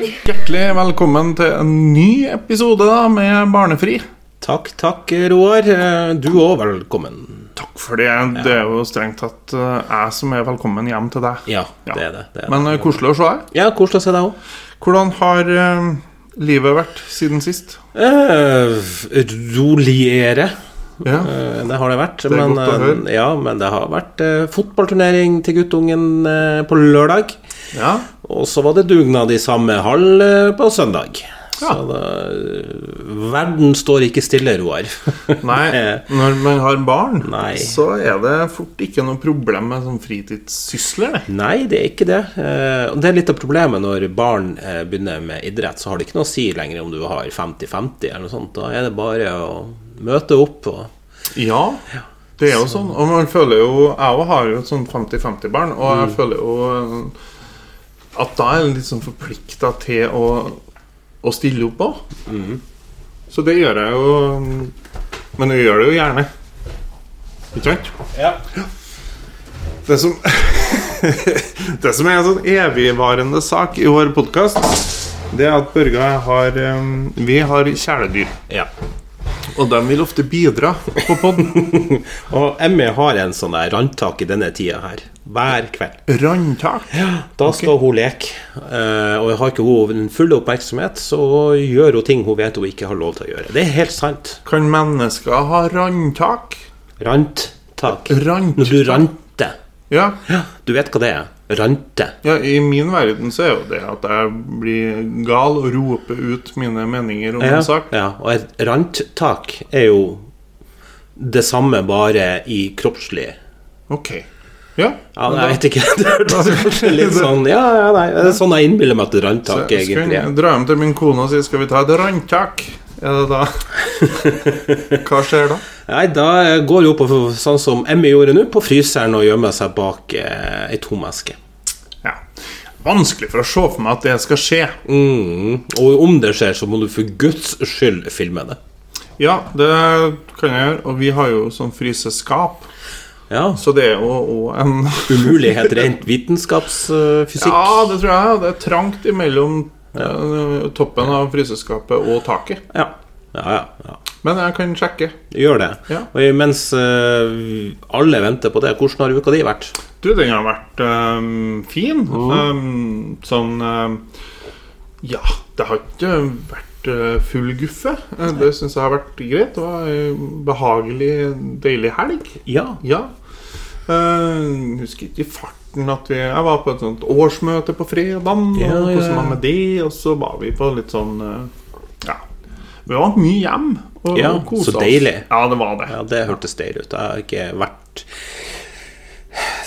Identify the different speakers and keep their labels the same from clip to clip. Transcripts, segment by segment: Speaker 1: Hjertelig velkommen til en ny episode da, med Barnefri.
Speaker 2: Takk, takk, Roar. Eh, Du òg, velkommen.
Speaker 1: Takk for det. Det er jo strengt tatt eh, jeg som er velkommen hjem til deg.
Speaker 2: Ja,
Speaker 1: Ja.
Speaker 2: det er det. det, er
Speaker 1: Men
Speaker 2: det.
Speaker 1: eh, koselig å se deg.
Speaker 2: Ja, koselig å se deg òg.
Speaker 1: Hvordan har eh, livet vært siden sist?
Speaker 2: Roliere.
Speaker 1: Ja.
Speaker 2: Eh, Det har det vært.
Speaker 1: er
Speaker 2: men,
Speaker 1: godt å
Speaker 2: eh,
Speaker 1: høre.
Speaker 2: Ja, men det har vært eh, fotballturnering til guttungen eh, på lørdag.
Speaker 1: ja.
Speaker 2: Og så var det dugnad i samme hall eh, på søndag.
Speaker 1: Ja.
Speaker 2: Så da, eh, verden står ikke stille, Roar.
Speaker 1: Nei,
Speaker 2: Eh,
Speaker 1: når man har barn,
Speaker 2: Nei.
Speaker 1: så er det fort ikke noe problem med sånn fritidssysler. det.
Speaker 2: Nei, det er ikke det. Eh, og Det er litt av problemet når barn eh, begynner med idrett, så har det ikke noe å si lenger om du har 50-50 eller noe sånt. Da er det bare å møte opp og
Speaker 1: Ja, det er jo sånn. Og man føler jo Jeg òg har jo et sånt 50-50-barn, og jeg føler jo eh, at da er jeg litt sånn forplikta til å, å stille opp òg. Så det gjør jeg jo mm, Men jeg gjør det jo gjerne. Ikke sant?
Speaker 2: Ja.
Speaker 1: Det som Det som er en sånn evigvarende sak i vår podkast, det er at Børge og jeg har eh, Vi har kjæledyr. Og de vil ofte bidra på podden.
Speaker 2: Og Emmy har en sånn der randtak i denne tida her. Hver kveld.
Speaker 1: Randtak.
Speaker 2: Da skal hun leke. eh, og har ikke hun den fulle oppmerksomhet, så gjør hun ting hun vet hun ikke har lov til å gjøre. Det er helt sant.
Speaker 1: Kan mennesker ha randtak?
Speaker 2: Randtak.
Speaker 1: Rand?
Speaker 2: Når du ranter.
Speaker 1: Ja.
Speaker 2: Ja, du vet hva det er. Rante.
Speaker 1: ja, i min verden så er jo det at jeg blir gal og roper ut mine meninger om
Speaker 2: Ja,
Speaker 1: en sak.
Speaker 2: ja, og et ranttak er jo det samme, bare i kroppslig
Speaker 1: Ok. Ja.
Speaker 2: ja, nei, Jeg vet ikke. Det hørtes kanskje litt sånn Ja, ja, nei. Det er sånn jeg innbiller meg at ranttak
Speaker 1: Skal
Speaker 2: egentlig er.
Speaker 1: jeg dra hjem til min kone og si 'skal vi ta et randtak'? Er det da Hva skjer da?
Speaker 2: Nei, da går jo på sånn som Emmy gjorde nå, på fryseren og gjemmer seg bak eh, ei tom eske.
Speaker 1: Ja. Vanskelig for å se for meg at det skal skje.
Speaker 2: Mm. Og om det skjer, så må du for guds skyld filme det.
Speaker 1: Ja, det kan jeg gjøre. Og vi har jo sånn fryseskap,
Speaker 2: Ja.
Speaker 1: så det er jo òg en
Speaker 2: Umulighet rent vitenskapsfysikk.
Speaker 1: Ja, det tror jeg. Det er trangt imellom eh, toppen av fryseskapet og taket.
Speaker 2: Ja. Ja, ja, ja.
Speaker 1: Men jeg kan sjekke.
Speaker 2: Gjør det.
Speaker 1: Ja.
Speaker 2: Og mens eh, alle venter på det, hvordan har uka di vært?
Speaker 1: Du, den har vært eh, fin. Eh, sånn eh, Ja, det har ikke vært eh, full guffe. Eh, det syns jeg har vært greit. Det var en behagelig, deilig helg.
Speaker 2: Ja.
Speaker 1: Ja. Eh, husker ikke i farten at vi Jeg var på et sånt årsmøte på fredagen.
Speaker 2: Ja,
Speaker 1: og
Speaker 2: ja,
Speaker 1: hvordan
Speaker 2: ja.
Speaker 1: var med det? Og så var vi på litt sånn eh, Ja. Vi var mye hjem og,
Speaker 2: Ja,
Speaker 1: og kosa
Speaker 2: så deilig.
Speaker 1: oss. Ja, det var det.
Speaker 2: ja det hørtes deilig ut. Jeg har ikke vært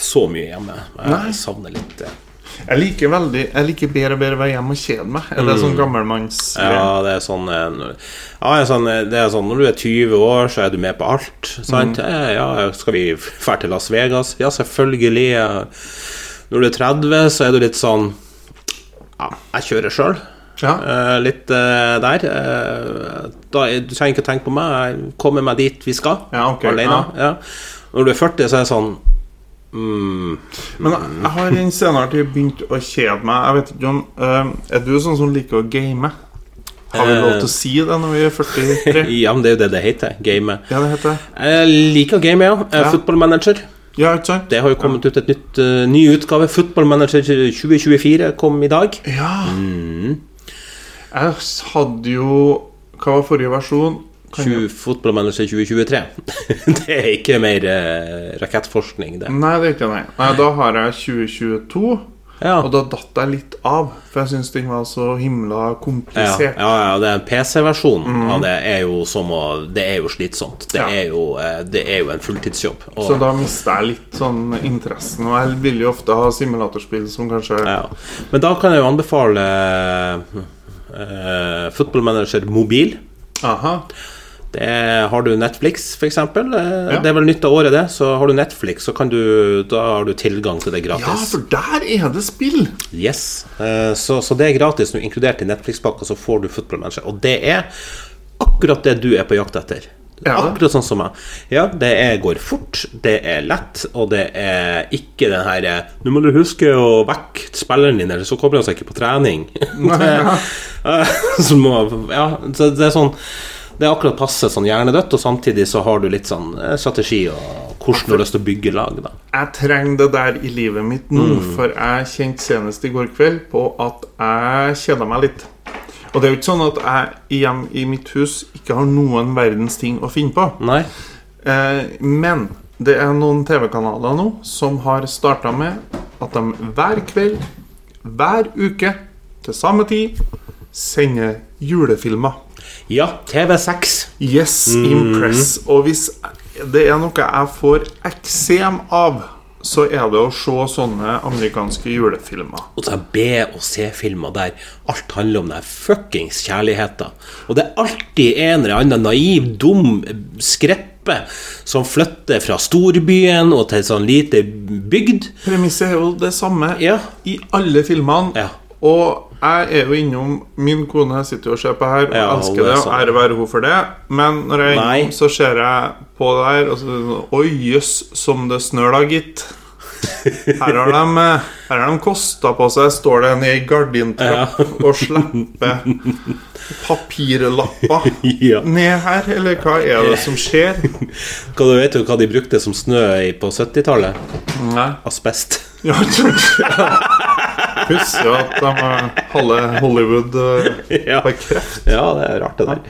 Speaker 2: så mye hjemme. Jeg savner litt eh, det.
Speaker 1: Jeg liker veldig Jeg liker bedre og bedre å være hjemme og kjede meg. Er det sånn gammelmanns
Speaker 2: Mm. Ja, det er sånn eh, ja, det er sånn, eh, det er sånn Når du er 20 år, så er du med på alt. Sant?
Speaker 1: Mm.
Speaker 2: Eh, Ja, skal vi dra til Las Vegas? Ja, selvfølgelig. eh. Når du er 30, så er du litt sånn Ja, jeg kjører sjøl.
Speaker 1: Ja.
Speaker 2: Eh, litt eh, der. eh, da, er- du trenger ikke å tenke på meg. Jeg kommer meg dit vi skal,
Speaker 1: Ja, ok,
Speaker 2: alene. Ja. Når du er 40, så er det sånn mm,
Speaker 1: Men jeg jeg har i den senere tid begynt å kjede meg. Jeg vet ikke om eh, Er du sånn som liker å game? Har vi
Speaker 2: Eh.
Speaker 1: lov til å si det når vi er 43?
Speaker 2: Ja, men det er jo det det heter. Game.
Speaker 1: Ja, det heter det.
Speaker 2: Jeg liker game, ja. Eh,
Speaker 1: Ja.
Speaker 2: Fotballmanager.
Speaker 1: Ja, ikke sant?
Speaker 2: Det har jo kommet ut et nytt eh, ny utgave. Fotballmanager 2024 kom i dag.
Speaker 1: Ja.
Speaker 2: Mm.
Speaker 1: Jeg hadde jo Hva var forrige versjon? Kan jeg-
Speaker 2: 20, Fotballmanager 2023. det er ikke mer eh, rakettforskning, det.
Speaker 1: Nei, det er ikke det. Nei, da har jeg 2022.
Speaker 2: Ja.
Speaker 1: Og da datt jeg litt av, for jeg syns den var så himla
Speaker 2: Ja,
Speaker 1: komplisert.
Speaker 2: ja, ja det er en PC-versjon. Ja, det er jo som å Det er jo slitsomt. Det,
Speaker 1: Mhm. Ja.
Speaker 2: er, jo, eh, det er jo en fulltidsjobb. Og,
Speaker 1: Så da mista jeg litt sånn interessen. Og jeg vil jo ofte ha simulatorspill som kanskje
Speaker 2: ja. Men da kan jeg jo anbefale eh, Football Manager mobil.
Speaker 1: Aha.
Speaker 2: Det er, har du Netflix, f.eks.
Speaker 1: Ja.
Speaker 2: Det er vel nytt av året, det. Så har du Netflix, så kan du, da har du tilgang til det
Speaker 1: Ja,
Speaker 2: gratis.
Speaker 1: for der er det spill!
Speaker 2: Yes. Eh, Så, så det er gratis nå, inkludert i Netflix-pakka, så får du Football Manager. Og det er akkurat det du er på jakt etter.
Speaker 1: Ja.
Speaker 2: Akkurat sånn som meg. Ja, det er, går fort, det er lett, og det er ikke den her eh, Nå må du huske å vekke spilleren din, eller så kommer han seg ikke på trening. Det- så må- ja, så det er sånn Det er akkurat passe sånn hjernedødt, og samtidig så har du litt sånn eh, strategi og hvordan du har lyst til å bygge lag, da.
Speaker 1: Jeg trenger det der i livet mitt nå, for jeg kjente senest i går kveld på at jeg kjeda meg litt. Og det er jo ikke sånn at jeg hjemme i mitt hus ikke har noen verdens ting å finne på.
Speaker 2: Nei?
Speaker 1: Eh, men det er noen TV-kanaler nå som har starta med at de hver kveld, hver uke, til samme tid sender julefilmer.
Speaker 2: Ja, TV6.
Speaker 1: Yes, impress. Og hvis det er noe jeg får eksem av, så er det å se sånne amerikanske julefilmer.
Speaker 2: Og så er B- og C-filmer der alt handler om den her fuckings kjærligheten. Og det er alltid en eller annen naiv, dum skreppe som flytter fra storbyen og til sånn lite bygd.
Speaker 1: Premisset er jo det samme
Speaker 2: Ja.
Speaker 1: i alle filmene.
Speaker 2: Ja.
Speaker 1: Og jeg er jo innom Min kone sitter jo og ser på her og
Speaker 2: Ja, hun er
Speaker 1: elsker det. Og
Speaker 2: sånn.
Speaker 1: ære være hun for det. Men når jeg er
Speaker 2: Nei.
Speaker 1: innom, så ser jeg på det her, og så er det sånn, Oi, jøss, som det snør da, gitt. Her har de, eh, her har de kosta på seg Står det ned i gardintrapp og slipper papirlapper
Speaker 2: Ja.
Speaker 1: ned her, eller hva er det som skjer?
Speaker 2: Hva du vet jo hva de brukte som snø i- på 70-tallet?
Speaker 1: Nei.
Speaker 2: Asbest.
Speaker 1: Ja, Pussig at de eh, halve Hollywood eh,
Speaker 2: Ja.
Speaker 1: har kreft.
Speaker 2: Ja, det er rart det der.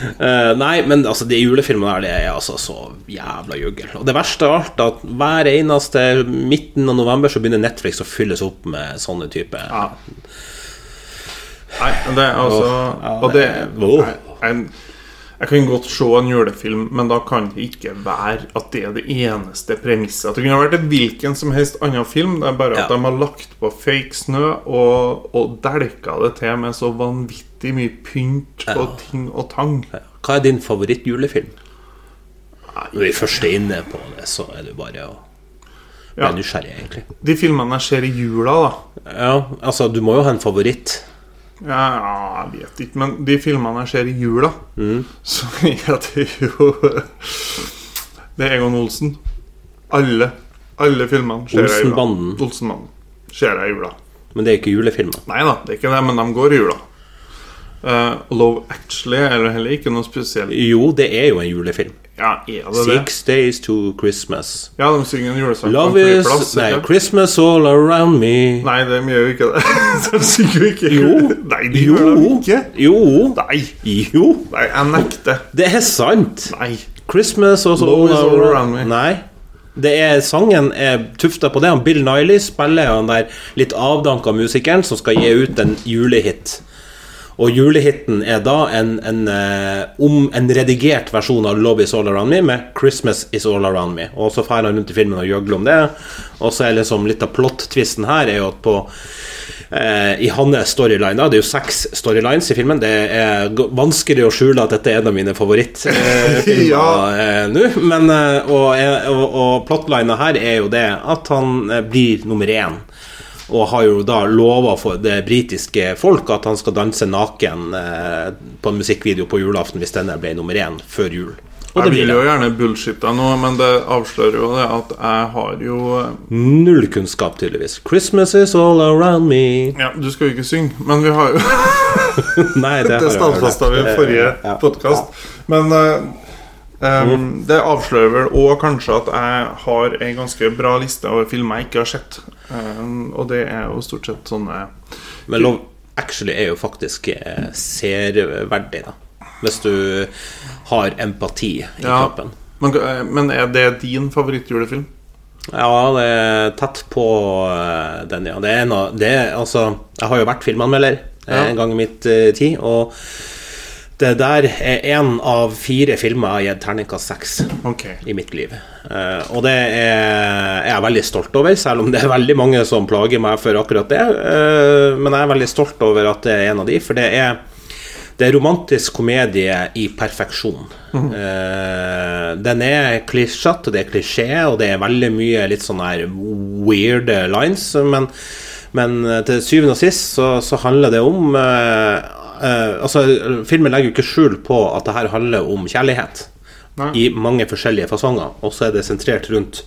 Speaker 2: Eh, nei, men altså, de julefilmene her, det er altså så jævla juggel. Og det verste av alt, at hver eneste midten av november så begynner Netflix å fylles opp med sånne type
Speaker 1: Ja. Nei, det er altså
Speaker 2: Åh, ja,
Speaker 1: Og det
Speaker 2: det- åh.
Speaker 1: jeg, jeg, jeg kan godt se en julefilm, men da kan det ikke være at det er det eneste premisset. At det kunne vært en hvilken som helst annen film, det er bare at
Speaker 2: Ja.
Speaker 1: de har lagt på fake snø og, og delka det til med så vanvittig mye pynt og ting og tang.
Speaker 2: Hva er din favorittjulefilm? Når vi først er inne på det, så er det bare å bli
Speaker 1: Ja.
Speaker 2: nysgjerrig, egentlig.
Speaker 1: De filmene jeg ser i jula, da
Speaker 2: Ja, altså, du må jo ha en favoritt.
Speaker 1: Ja, jeg vet ikke, men de filmene jeg ser i jula,
Speaker 2: Mm.
Speaker 1: så er det jo Det er Egon Olsen. Alle alle filmene ser jeg i jula.
Speaker 2: Olsenbanden.
Speaker 1: Olsenbanden ser jeg i jula.
Speaker 2: Men det er ikke julefilmer.
Speaker 1: Nei da, det er ikke det, men de går i jula. Eh, Love Actually er det heller ikke noe spesielt.
Speaker 2: Jo, det er jo en julefilm.
Speaker 1: Ja, er det det?
Speaker 2: Six Days to Christmas.
Speaker 1: Ja, de synger en julesang på en
Speaker 2: Love is
Speaker 1: flyplass,
Speaker 2: Nei,
Speaker 1: ikke?
Speaker 2: Christmas all around me.
Speaker 1: Nei, de gjør jo ikke det. De synger jo ikke
Speaker 2: Jo.
Speaker 1: Nei, de gjør det ikke.
Speaker 2: Jo.
Speaker 1: Nei.
Speaker 2: Jo.
Speaker 1: Nei, jeg nekter.
Speaker 2: Det er sant.
Speaker 1: Nei.
Speaker 2: Christmas also
Speaker 1: Love is all around me.
Speaker 2: Nei. Det er, sangen er tufta på det. Han Bill Niley spiller han der litt avdanka musikeren som skal gi ut en julehit. Og julehiten er da en, en, eh, om en redigert versjon av 'Love Is All Around Me' med 'Christmas Is All Around Me'. Og så drar han rundt i filmen og gjøgler om det. Og så er liksom litt av plot-twisten her er jo at på eh, I hans storyline da, Det er jo seks storylines i filmen. Det er g- vanskelig å skjule at dette er en av mine favorittfilmer eh,
Speaker 1: Ja.
Speaker 2: eh, nå. Men eh, og, eh, og, og plotlina her er jo det at han eh, blir nummer én. Og har jo da lova for det britiske folk at han skal danse naken eh, på en musikkvideo på julaften hvis denne ble nummer én før jul. Og det
Speaker 1: jeg
Speaker 2: blir
Speaker 1: vil jo
Speaker 2: det.
Speaker 1: gjerne bullshit deg nå, men det avslører jo det at jeg har jo
Speaker 2: Null kunnskap, tydeligvis. 'Christmas is all around me'.
Speaker 1: Ja, du skal jo ikke synge, men vi har jo
Speaker 2: Nei, det,
Speaker 1: Det
Speaker 2: har jeg hørt. Eh,
Speaker 1: stadfesta vi i forrige
Speaker 2: Ja. Mm.
Speaker 1: podkast. Men eh, em, det avslører vel òg kanskje at jeg har ei ganske bra liste over filmer jeg ikke har sett. Em, og det er jo stort sett sånne
Speaker 2: Men Love Actually er jo faktisk eh, seerverdig, da. Hvis du har empati i
Speaker 1: Ja.
Speaker 2: kroppen.
Speaker 1: Men, eh, men er det din favorittjulefilm?
Speaker 2: Ja, det er tett på eh, den, ja. Det er en av det er, Altså, jeg har jo vært filmanmelder eh,
Speaker 1: Ja.
Speaker 2: en gang i mitt eh, tid, og det der er én av fire filmer jeg har gitt terningkast seks
Speaker 1: Ok.
Speaker 2: i mitt liv. Eh, og det er, er jeg veldig stolt over, selv om det er veldig mange som plager meg for akkurat det. Eh, men jeg er veldig stolt over at det er en av de, for det er, det er romantisk komedie i perfeksjon. Eh, den er klisjete, det er klisjé, og det er veldig mye litt sånn her weird lines, men, men eh, til syvende og sist så, så handler det om eh, eh, altså, Filmen legger jo ikke skjul på at det her handler om kjærlighet.
Speaker 1: Nei.
Speaker 2: i mange forskjellige fasonger, og så er det sentrert rundt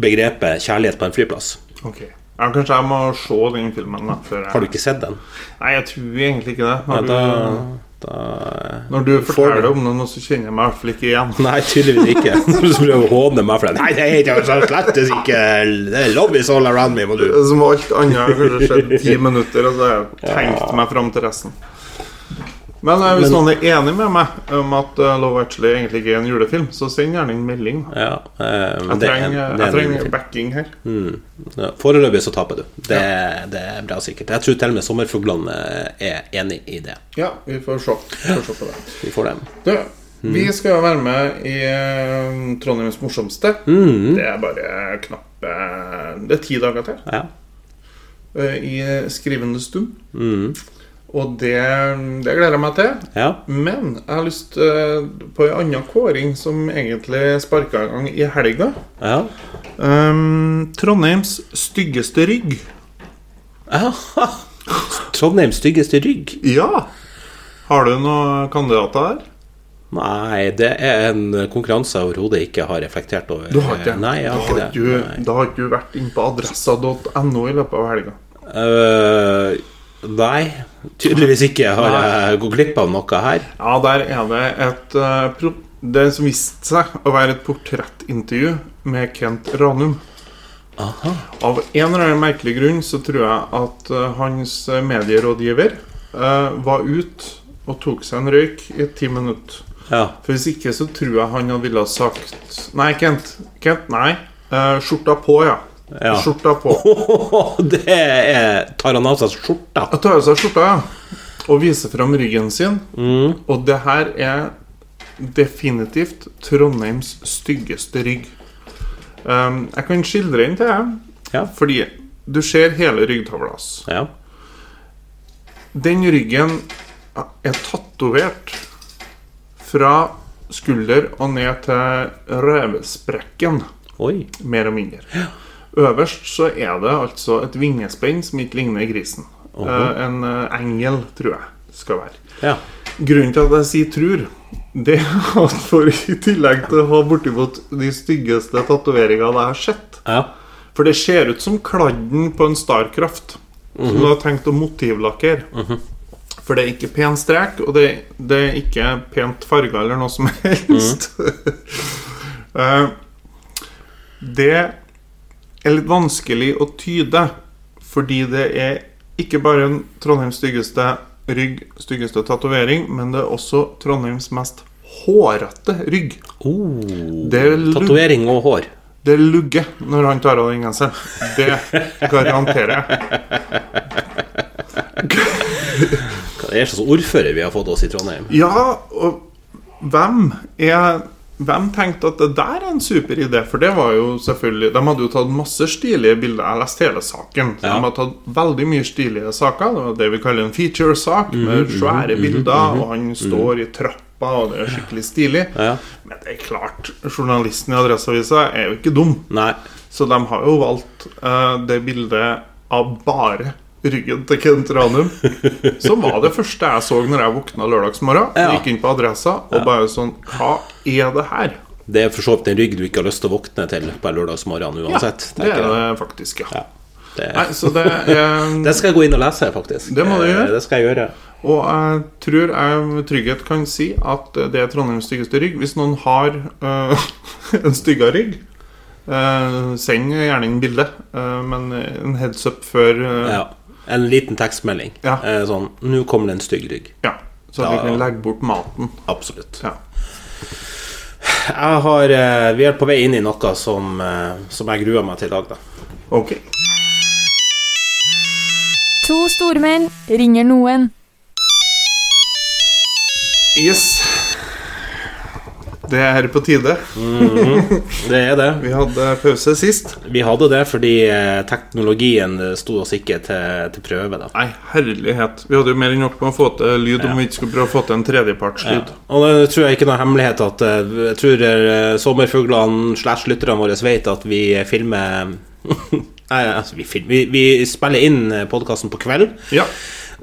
Speaker 2: begrepet 'kjærlighet på en flyplass'.
Speaker 1: Ok. Ja, kanskje jeg må se den filmen da, før jeg
Speaker 2: Har du ikke sett den?
Speaker 1: Nei, jeg tror egentlig ikke det.
Speaker 2: Ja,
Speaker 1: Når,
Speaker 2: da,
Speaker 1: du,
Speaker 2: da
Speaker 1: når du forteller
Speaker 2: du.
Speaker 1: om den, så kjenner jeg meg i hvert fall ikke igjen.
Speaker 2: Nei, tydeligvis ikke. Når du prøver å håne meg for det. Nei, det er ikke- slett ikke Det er lobbies all around me, må du
Speaker 1: Som alt annet har kanskje skjedd ti minutter, og så har jeg tenkt meg fram til resten. Men eh, hvis
Speaker 2: Men-
Speaker 1: noen er enig med meg om at eh, Love Actually egentlig ikke er en julefilm, så send gjerne en melding.
Speaker 2: Ja, eh,
Speaker 1: Jeg
Speaker 2: men det er en-
Speaker 1: trenger,
Speaker 2: det er
Speaker 1: jeg
Speaker 2: en Mm.
Speaker 1: trenger
Speaker 2: film.
Speaker 1: backing her.
Speaker 2: Ja, Foreløpig så taper du. Det, det er bra sikkert. Jeg tror til og med sommerfuglene er enig i det.
Speaker 1: Ja, vi får se, vi får se på det.
Speaker 2: Vi får dem.
Speaker 1: Du,
Speaker 2: Mm.
Speaker 1: vi skal jo være med i eh, Trondheims morsomste.
Speaker 2: Mm.
Speaker 1: Det er bare knappe Det er ti dager til
Speaker 2: Ja.
Speaker 1: eh, i skrivende stund. Og det, det gleder jeg meg til.
Speaker 2: Mm. ja.
Speaker 1: Men jeg har lyst eh, på en annen kåring som egentlig sparka i gang i helga.
Speaker 2: Ja.
Speaker 1: Um, Trondheims styggeste rygg.
Speaker 2: ja. Trondheims styggeste rygg?
Speaker 1: Ja! Har du noen kandidater her?
Speaker 2: Nei, det er en konkurranse jeg overhodet ikke har reflektert over.
Speaker 1: Du har ikke?
Speaker 2: Nei, jeg har
Speaker 1: da,
Speaker 2: ikke
Speaker 1: har
Speaker 2: det.
Speaker 1: ikke
Speaker 2: Nei.
Speaker 1: du, da har ikke du vært inne på adressa.no i løpet av helga?
Speaker 2: Eh, nei, tydeligvis ikke har jeg gått glipp av noe her.
Speaker 1: Ja, der er det et eh, pro Det som viste seg å være et portrettintervju med Kent Ranum.
Speaker 2: Aha.
Speaker 1: Av en eller annen merkelig grunn så tror jeg at eh, hans medierådgiver eh, var ute og tok seg en røyk i ti minutter.
Speaker 2: Ja.
Speaker 1: For hvis ikke så tror jeg han hadde ville ha sagt Nei, Kent. Kent, nei. Eh, skjorta på, ja.
Speaker 2: Ja.
Speaker 1: Skjorta på.
Speaker 2: det er Tar han av seg skjorta?
Speaker 1: Jeg tar av seg skjorta ja. og viser fram ryggen sin. Og det her er definitivt Trondheims styggeste rygg. Um, jeg kan skildre den til deg,
Speaker 2: Ja.
Speaker 1: fordi du ser hele ryggtavla hans.
Speaker 2: Ja.
Speaker 1: Den ryggen er tatovert fra skulder og ned til revesprekken,
Speaker 2: Oi.
Speaker 1: mer og mindre. Øverst så er det altså et vingespenn som ikke ligner grisen. Eh, en eh, engel, tror jeg det skal være.
Speaker 2: Ja.
Speaker 1: Grunnen til at jeg sier trur, det er at for i tillegg til å ha bortimot de styggeste tatoveringene jeg har sett
Speaker 2: Ja.
Speaker 1: For det ser ut som kladden på en Starcraft som du har tenkt å motivlakkere. For det er ikke pen strek, og det, det er ikke pent farga eller noe som helst. Eh, det er litt vanskelig å tyde, fordi det er ikke bare en Trondheims styggeste rygg, styggeste tatovering, men det er også Trondheims mest hårete rygg.
Speaker 2: Oh.
Speaker 1: Det er lu-
Speaker 2: Tatovering og hår.
Speaker 1: Det lugger når han tar av den genseren. Det garanterer jeg.
Speaker 2: Det er en slags ordfører vi har fått oss i Trondheim.
Speaker 1: Ja, og hvem er hvem tenkte at det der er en super idé? For det var jo selvfølgelig De hadde jo tatt masse stilige bilder. Jeg leste hele saken. Så
Speaker 2: Ja.
Speaker 1: De har tatt veldig mye stilige saker. Det var det vi kaller en feature-sak,
Speaker 2: Mhm,
Speaker 1: med svære bilder, og han står i trappa, og det er skikkelig stilig.
Speaker 2: Ja.
Speaker 1: Men det er klart, journalisten i Adresseavisa er jo ikke dum.
Speaker 2: Nei.
Speaker 1: Så de har jo valgt eh, det bildet av bare ryggen til Kent Ranum. Som var det første jeg så når jeg våkna lørdagsmorgen.
Speaker 2: Ja.
Speaker 1: Gikk inn på adressa og bare sånn Hva er det her?
Speaker 2: Det er for så vidt en rygg du ikke har lyst til å våkne til på en lørdagsmorgen uansett.
Speaker 1: det
Speaker 2: tenker
Speaker 1: er
Speaker 2: jeg.
Speaker 1: det faktisk, ja.
Speaker 2: Ja. Det,
Speaker 1: Nei, så det er,
Speaker 2: det skal jeg gå inn og lese, faktisk.
Speaker 1: Det må du gjøre.
Speaker 2: Eh, Det skal jeg gjøre.
Speaker 1: Og jeg tror jeg med trygghet kan si at det er Trondheims styggeste rygg. Hvis noen har eh, en stygga rygg, eh, send gjerne inn bilde. eh, men en heads up før eh,
Speaker 2: Ja. En liten tekstmelding.
Speaker 1: Ja.
Speaker 2: Eh, Sånn 'Nå kommer det en stygg rygg'.
Speaker 1: Ja, så at vi
Speaker 2: Da-
Speaker 1: kan legge bort maten.
Speaker 2: Absolutt.
Speaker 1: Ja.
Speaker 2: Jeg har, eh, vi er på vei inn i noe som, eh, som jeg gruer meg til i dag, da.
Speaker 1: Ok.
Speaker 3: To stormenn ringer noen.
Speaker 1: Yes. Det er på tide.
Speaker 2: Det er det.
Speaker 1: Vi hadde pause sist.
Speaker 2: Vi hadde det fordi eh, teknologien eh, sto oss ikke til, til prøve, da.
Speaker 1: Nei, herlighet. Vi hadde jo mer enn nok med å få til lyd om vi ikke skulle prøve å få til en tredjepartslyd.
Speaker 2: Og det tror jeg ikke er noe hemmelighet at eh, jeg tror eh, sommerfuglene slash lytterne våre vet at vi filmer Nei, altså, vi, filmer, vi, vi spiller inn podkasten på kveld.
Speaker 1: Ja.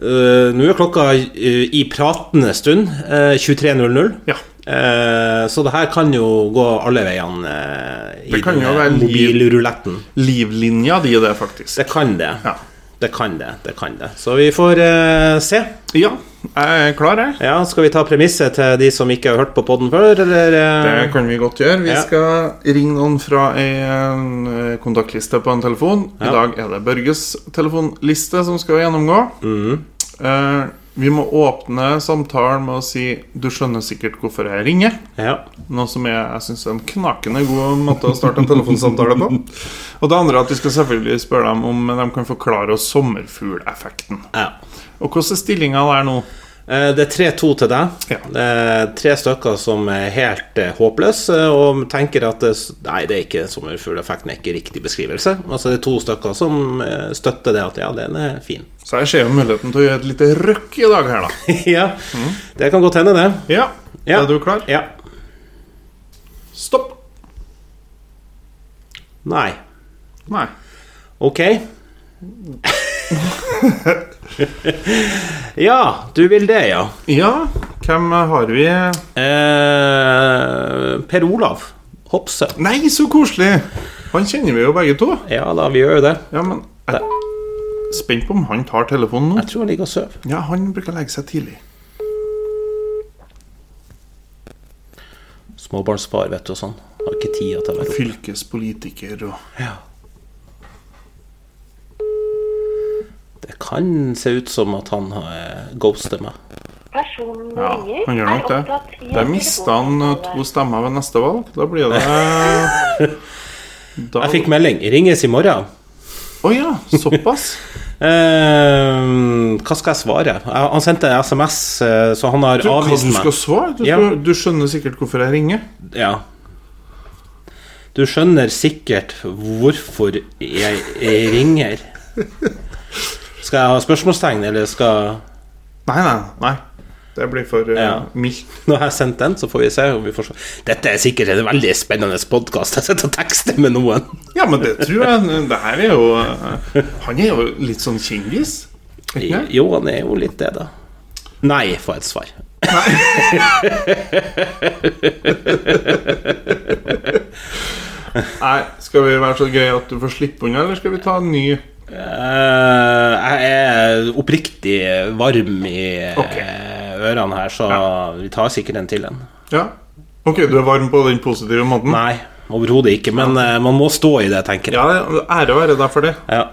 Speaker 2: Eh, Nå er klokka eh, i pratende stund eh, 23.00.
Speaker 1: Ja.
Speaker 2: Eh, så det her kan jo gå alle veiene eh, i
Speaker 1: Det kan jo
Speaker 2: denne
Speaker 1: være liv.
Speaker 2: mobilruletten.
Speaker 1: Livlinja di er det, faktisk.
Speaker 2: Det kan det.
Speaker 1: Ja.
Speaker 2: Det kan det. det kan det Så vi får eh, se.
Speaker 1: Ja, jeg er klar, jeg.
Speaker 2: Ja, Skal vi ta premisset til de som ikke har hørt på podden før, eller? eh?
Speaker 1: Det kan vi godt gjøre. Vi
Speaker 2: Ja.
Speaker 1: skal ringe noen fra en eh, kontaktliste på en telefon. I
Speaker 2: Ja.
Speaker 1: dag er det Børges telefonliste som skal gjennomgå.
Speaker 2: Mm.
Speaker 1: Eh, vi må åpne samtalen med å si 'du skjønner sikkert hvorfor jeg ringer'.
Speaker 2: Ja.
Speaker 1: Noe som jeg, jeg syns er en knakende god måte å starte en telefonsamtale på. Og det andre er at vi skal selvfølgelig spørre dem om de kan forklare oss sommerfugleffekten.
Speaker 2: ja.
Speaker 1: Og hvordan er stillinga der nå?
Speaker 2: Eh, Det er 3-2 til deg.
Speaker 1: Ja.
Speaker 2: Det er tre stykker som er helt eh, håpløse og tenker at det, s- Nei, det er ikke sommerfugleffekten, er ikke riktig beskrivelse. Altså det er to stykker som eh, støtter det at ja, den er fin.
Speaker 1: Så jeg ser jo muligheten til å gjøre et lite røkk i dag her, da.
Speaker 2: ja, det kan godt hende, det.
Speaker 1: Ja,
Speaker 2: Ja.
Speaker 1: Er du klar?
Speaker 2: Ja.
Speaker 1: Stopp.
Speaker 2: Nei.
Speaker 1: Nei.
Speaker 2: Ok. ja, du vil det, ja.
Speaker 1: Ja, hvem har vi
Speaker 2: Eh, per Olav Hopse.
Speaker 1: Nei, så koselig! Han kjenner vi jo begge to.
Speaker 2: Ja da, vi gjør jo det.
Speaker 1: Ja, men jeg er spent på om han tar telefonen nå.
Speaker 2: Jeg tror han ligger og sover.
Speaker 1: Ja, han bruker å legge seg tidlig.
Speaker 2: Småbarnsfar, vet du, og sånn. Har ikke tida til å være oppe.
Speaker 1: Fylkespolitiker og
Speaker 2: Ja. Det kan se ut som at han har eh, ghostet meg.
Speaker 4: Personen
Speaker 1: Ja, han gjør nok det. Der mista han eh, to stemmer ved neste valg. Da blir det Da-
Speaker 2: Jeg fikk melding. Ringes i morgen.
Speaker 1: Å ja, såpass?
Speaker 2: Eh, hva skal jeg svare? Jeg, han sendte en SMS, eh, så han har
Speaker 1: Du, hva du
Speaker 2: avvist meg.
Speaker 1: skal svare? Du,
Speaker 2: Ja.
Speaker 1: skal, du skjønner sikkert hvorfor jeg ringer.
Speaker 2: Ja. Du skjønner sikkert hvorfor jeg, jeg ringer. Skal jeg ha spørsmålstegn, eller skal
Speaker 1: Nei, nei, nei. Det blir for eh,
Speaker 2: Ja.
Speaker 1: mildt.
Speaker 2: Når jeg har sendt den, så får vi se om vi får se. Dette er sikkert en veldig spennende podkast. Jeg sitter og tekster med noen.
Speaker 1: Ja, men det tror jeg Det her er jo eh, Han er jo litt sånn kjendis. Ikke det?
Speaker 2: Jo, han er jo litt det, da. Nei, får jeg et svar.
Speaker 1: Nei, skal vi være så greie at du får slippe unna, eller skal vi ta en ny?
Speaker 2: Eh, jeg er oppriktig varm i eh,
Speaker 1: Ok.
Speaker 2: ørene her, så vi tar sikkert en til en.
Speaker 1: Ja? Ok, du er varm på den positive måten?
Speaker 2: Nei, overhodet ikke, men eh, man må stå i det, tenker jeg.
Speaker 1: Ja, ære være deg for det.
Speaker 2: Ja.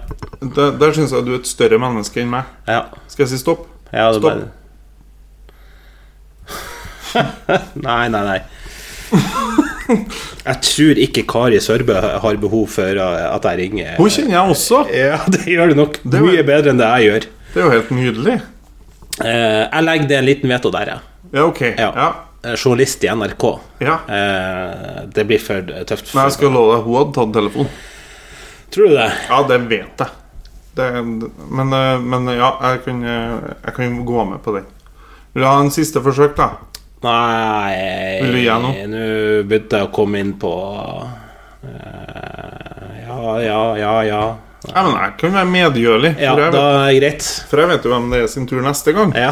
Speaker 1: Der, der syns jeg du er et større menneske enn meg.
Speaker 2: ja,
Speaker 1: Skal jeg si stopp?
Speaker 2: ja det er
Speaker 1: Stopp.
Speaker 2: bare... Nei, nei, nei. Jeg tror ikke Kari Sørbø har behov for eh, at jeg ringer.
Speaker 1: Hun kjenner jeg også.
Speaker 2: Ja, det gjør du nok
Speaker 1: var-
Speaker 2: mye bedre enn det jeg gjør.
Speaker 1: Det er jo helt nydelig.
Speaker 2: Eh, jeg legger det en liten veto der, jeg.
Speaker 1: Ja, ok. Ja. ja.
Speaker 2: Eh, Journalist i NRK.
Speaker 1: Ja.
Speaker 2: Eh, det blir for tøft.
Speaker 1: Nei, jeg skal love deg, hun hadde tatt telefonen.
Speaker 2: Tror du det?
Speaker 1: Ja, det vet jeg. Det, men, eh, men ja, jeg kan, eh, jeg kan jo gå med på den. Vil du ha en siste forsøk, da?
Speaker 2: Nei
Speaker 1: Vil du gjøre noe?
Speaker 2: Nå begynte jeg å komme inn på eh, Ja, ja, ja, ja.
Speaker 1: Ja, men jeg kan være medgjørlig.
Speaker 2: Ja,
Speaker 1: For, jeg
Speaker 2: da
Speaker 1: vet,
Speaker 2: er det greit.
Speaker 1: for jeg vet jo hvem det er sin tur neste gang.
Speaker 2: Ja.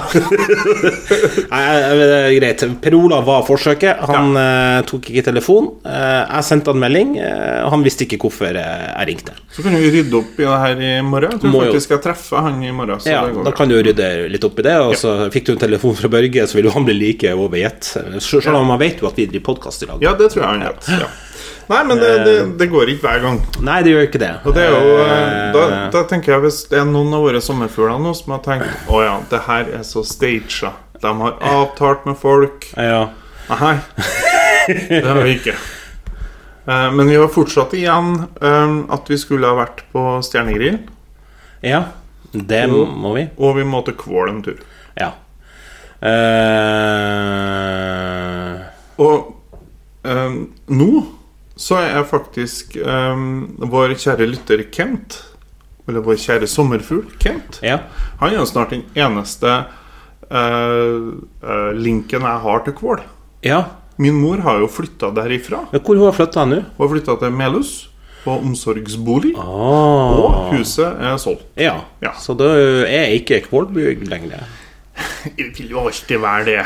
Speaker 2: Nei, det er greit. Per Olav var forsøket. Han eh, tok ikke telefon. Eh, jeg sendte han melding. Eh, han visste ikke hvorfor eh, jeg ringte.
Speaker 1: Så kan vi rydde opp i det her i morgen. Jeg tror
Speaker 2: Må jo.
Speaker 1: faktisk jeg treffer han i morgen. Så
Speaker 2: Ja,
Speaker 1: det går
Speaker 2: da
Speaker 1: bra.
Speaker 2: kan du rydde litt opp i det. Og så fikk du en telefon fra Børge, så vil jo han bli like over gjett. Selv om han vet jo at vi driver podkast i lag.
Speaker 1: ja, det tror jeg han vet. Ja. Nei, men det, det, det går ikke hver gang.
Speaker 2: Nei, det gjør ikke det.
Speaker 1: Og det er jo, eh,
Speaker 2: Eh,
Speaker 1: da, da tenker jeg Hvis det er noen av våre sommerfugler nå som har tenkt Å ja, det her er så staged. De har avtalt med folk.
Speaker 2: ja.
Speaker 1: Nei, det har vi ikke. Eh, Men vi var fortsatt igjen eh, at vi skulle ha vært på Stjernegrill,
Speaker 2: ja, det må vi.
Speaker 1: og vi må til Kvål en tur.
Speaker 2: Ja. Eh,
Speaker 1: Og eh, nå så er faktisk eh, vår kjære lytter Kent, eller vår kjære sommerfugl Kent
Speaker 2: ja.
Speaker 1: Han er jo snart den eneste eh, eh, linken jeg har til Kvål.
Speaker 2: ja.
Speaker 1: Min mor har jo flytta derifra.
Speaker 2: Men Hvor hun har flytta nå?
Speaker 1: Hun har flytta til Melhus, på omsorgsbolig, og
Speaker 2: Ah,
Speaker 1: huset er solgt.
Speaker 2: ja.
Speaker 1: Ja.
Speaker 2: Så da er ikke Kvålbygd lenger.
Speaker 1: Jeg vil jo alltid være det.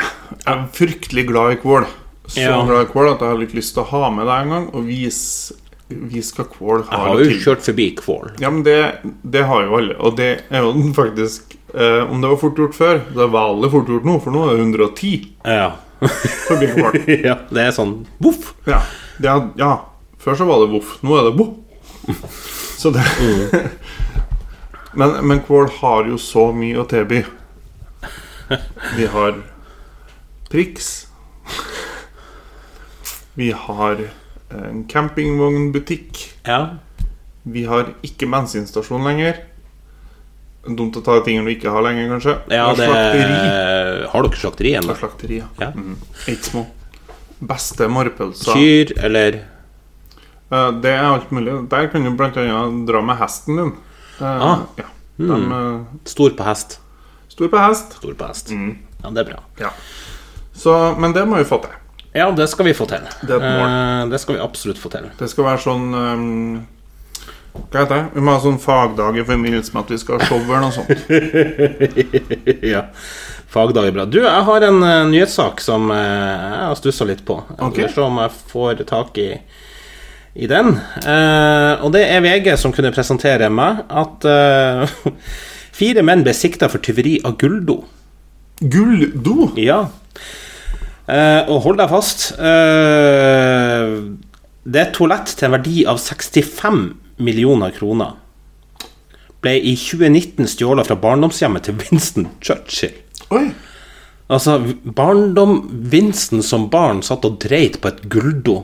Speaker 1: Jeg er fryktelig glad i Kvål. så
Speaker 2: Ja.
Speaker 1: glad i Kvål at jeg har litt lyst til å ha med deg en gang og vise, vise hva Kvål
Speaker 2: Jeg
Speaker 1: har,
Speaker 2: har
Speaker 1: å
Speaker 2: jo
Speaker 1: tilby.
Speaker 2: kjørt forbi Kvål.
Speaker 1: Ja, men det, det har jo alle, og det er jo den faktisk eh, Om det var fort gjort før, det er veldig fort gjort nå, for nå er det 110
Speaker 2: Ja.
Speaker 1: forbi Kvål.
Speaker 2: ja. Det er sånn voff.
Speaker 1: Ja, det er, ja. Før så var det voff, nå er det bo. Så det Men, men Kvål har jo så mye å tilby. Vi har Prix. Vi har eh, en campingvognbutikk.
Speaker 2: Ja.
Speaker 1: Vi har ikke bensinstasjon lenger. Dumt å ta tingene du ikke har lenger, kanskje.
Speaker 2: ja
Speaker 1: Og
Speaker 2: det
Speaker 1: slakteri.
Speaker 2: Har dere slakteri ennå?
Speaker 1: Og slakteri, ja.
Speaker 2: Ja.
Speaker 1: Mm. Ikke små. Beste morrpølsa.
Speaker 2: Kyr, eller
Speaker 1: Eh, Det er alt mulig. Der kan du blant annet dra med hesten din. Eh,
Speaker 2: Ah.
Speaker 1: Ja. De
Speaker 2: Mm.
Speaker 1: eh,
Speaker 2: Stor på hest?
Speaker 1: står på hest.
Speaker 2: Stor på hest.
Speaker 1: Mm.
Speaker 2: Ja, det er bra.
Speaker 1: Så, men det må vi få til.
Speaker 2: Ja, det skal vi få til.
Speaker 1: Det er et mål.
Speaker 2: Eh, det skal vi absolutt få til.
Speaker 1: Det skal være sånn ehm, Hva heter det? Vi må ha sånn fagdag i forbindelse med at vi skal ha show eller noe sånt.
Speaker 2: ja. Fagdag er bra. Du, jeg har en eh, nyhetssak som eh, jeg har stussa litt på. Jeg
Speaker 1: Ok.
Speaker 2: skal se om jeg får tak i, i den. Eh, og det er VG som kunne presentere meg at eh, fire menn ble sikta for tyveri av gulldo.
Speaker 1: Gulldo!
Speaker 2: Ja. Eh, og hold deg fast. Eh, det er et toalett til en verdi av 65 millioner kroner. Ble i 2019 stjålet fra barndomshjemmet til Winston Churchill.
Speaker 1: Oi!
Speaker 2: Altså, barndom Vincent som barn satt og dreit på et gulldo.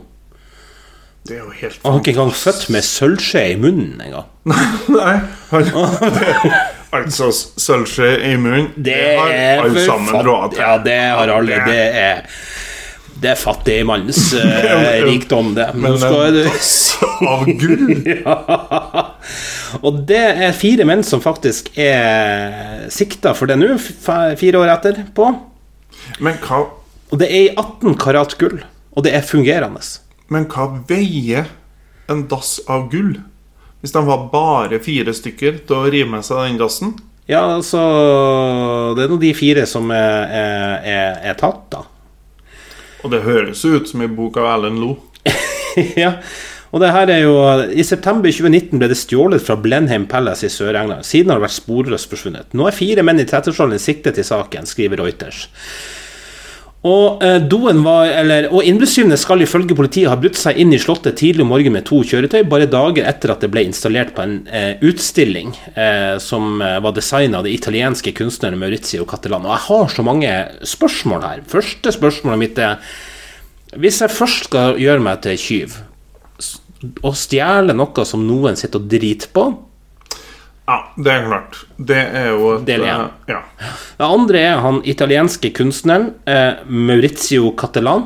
Speaker 1: Det er jo helt
Speaker 2: Han var ikke engang født med sølvskje i munnen engang.
Speaker 1: Nei. han- Altså, sølvskje i munnen
Speaker 2: Ah. Det
Speaker 1: har
Speaker 2: er
Speaker 1: alle
Speaker 2: for
Speaker 1: sammen råd
Speaker 2: fatt-
Speaker 1: til.
Speaker 2: Ja, det har alle.
Speaker 1: Det-
Speaker 2: Det er det er fattigmanns eh, rikdom, det. Men
Speaker 1: Men
Speaker 2: nå skal
Speaker 1: en
Speaker 2: du
Speaker 1: tass av gull
Speaker 2: Ja. Og det er fire menn som faktisk er sikta for det nå, f- fire år etterpå.
Speaker 1: Men hva,
Speaker 2: Og det er i 18 karat gull, og det er fungerende.
Speaker 1: men hva veier en dass av gull? Hvis de var bare fire stykker til å rive med seg den dassen?
Speaker 2: Ja, altså Det er nå de fire som er, er, er, er tatt, da.
Speaker 1: Og det høres jo ut som i bok av Erlend Lo.
Speaker 2: ja. Og det her er jo I september 2019 ble det stjålet fra Blenheim Palace i Sør-England. Siden har det vært sporløst forsvunnet. Nå er fire menn i 30-årsalderen siktet i saken, skriver Reuters. Og eh, doen var, eller, og innbruddstyvene skal ifølge politiet ha brutt seg inn i Slottet tidlig om morgenen med to kjøretøy, bare dager etter at det ble installert på en eh, utstilling eh, som eh, var designet av det italienske kunstneren Maurizio Cattelan. Og jeg har så mange spørsmål her. Første spørsmålet mitt er Hvis jeg først skal gjøre meg til tyv, s- og stjele noe som noen sitter og driter på
Speaker 1: Ja, det er klart. Det er jo et
Speaker 2: Del én.
Speaker 1: eh, ja.
Speaker 2: Det andre er han italienske kunstneren eh, Maurizio Cattelan.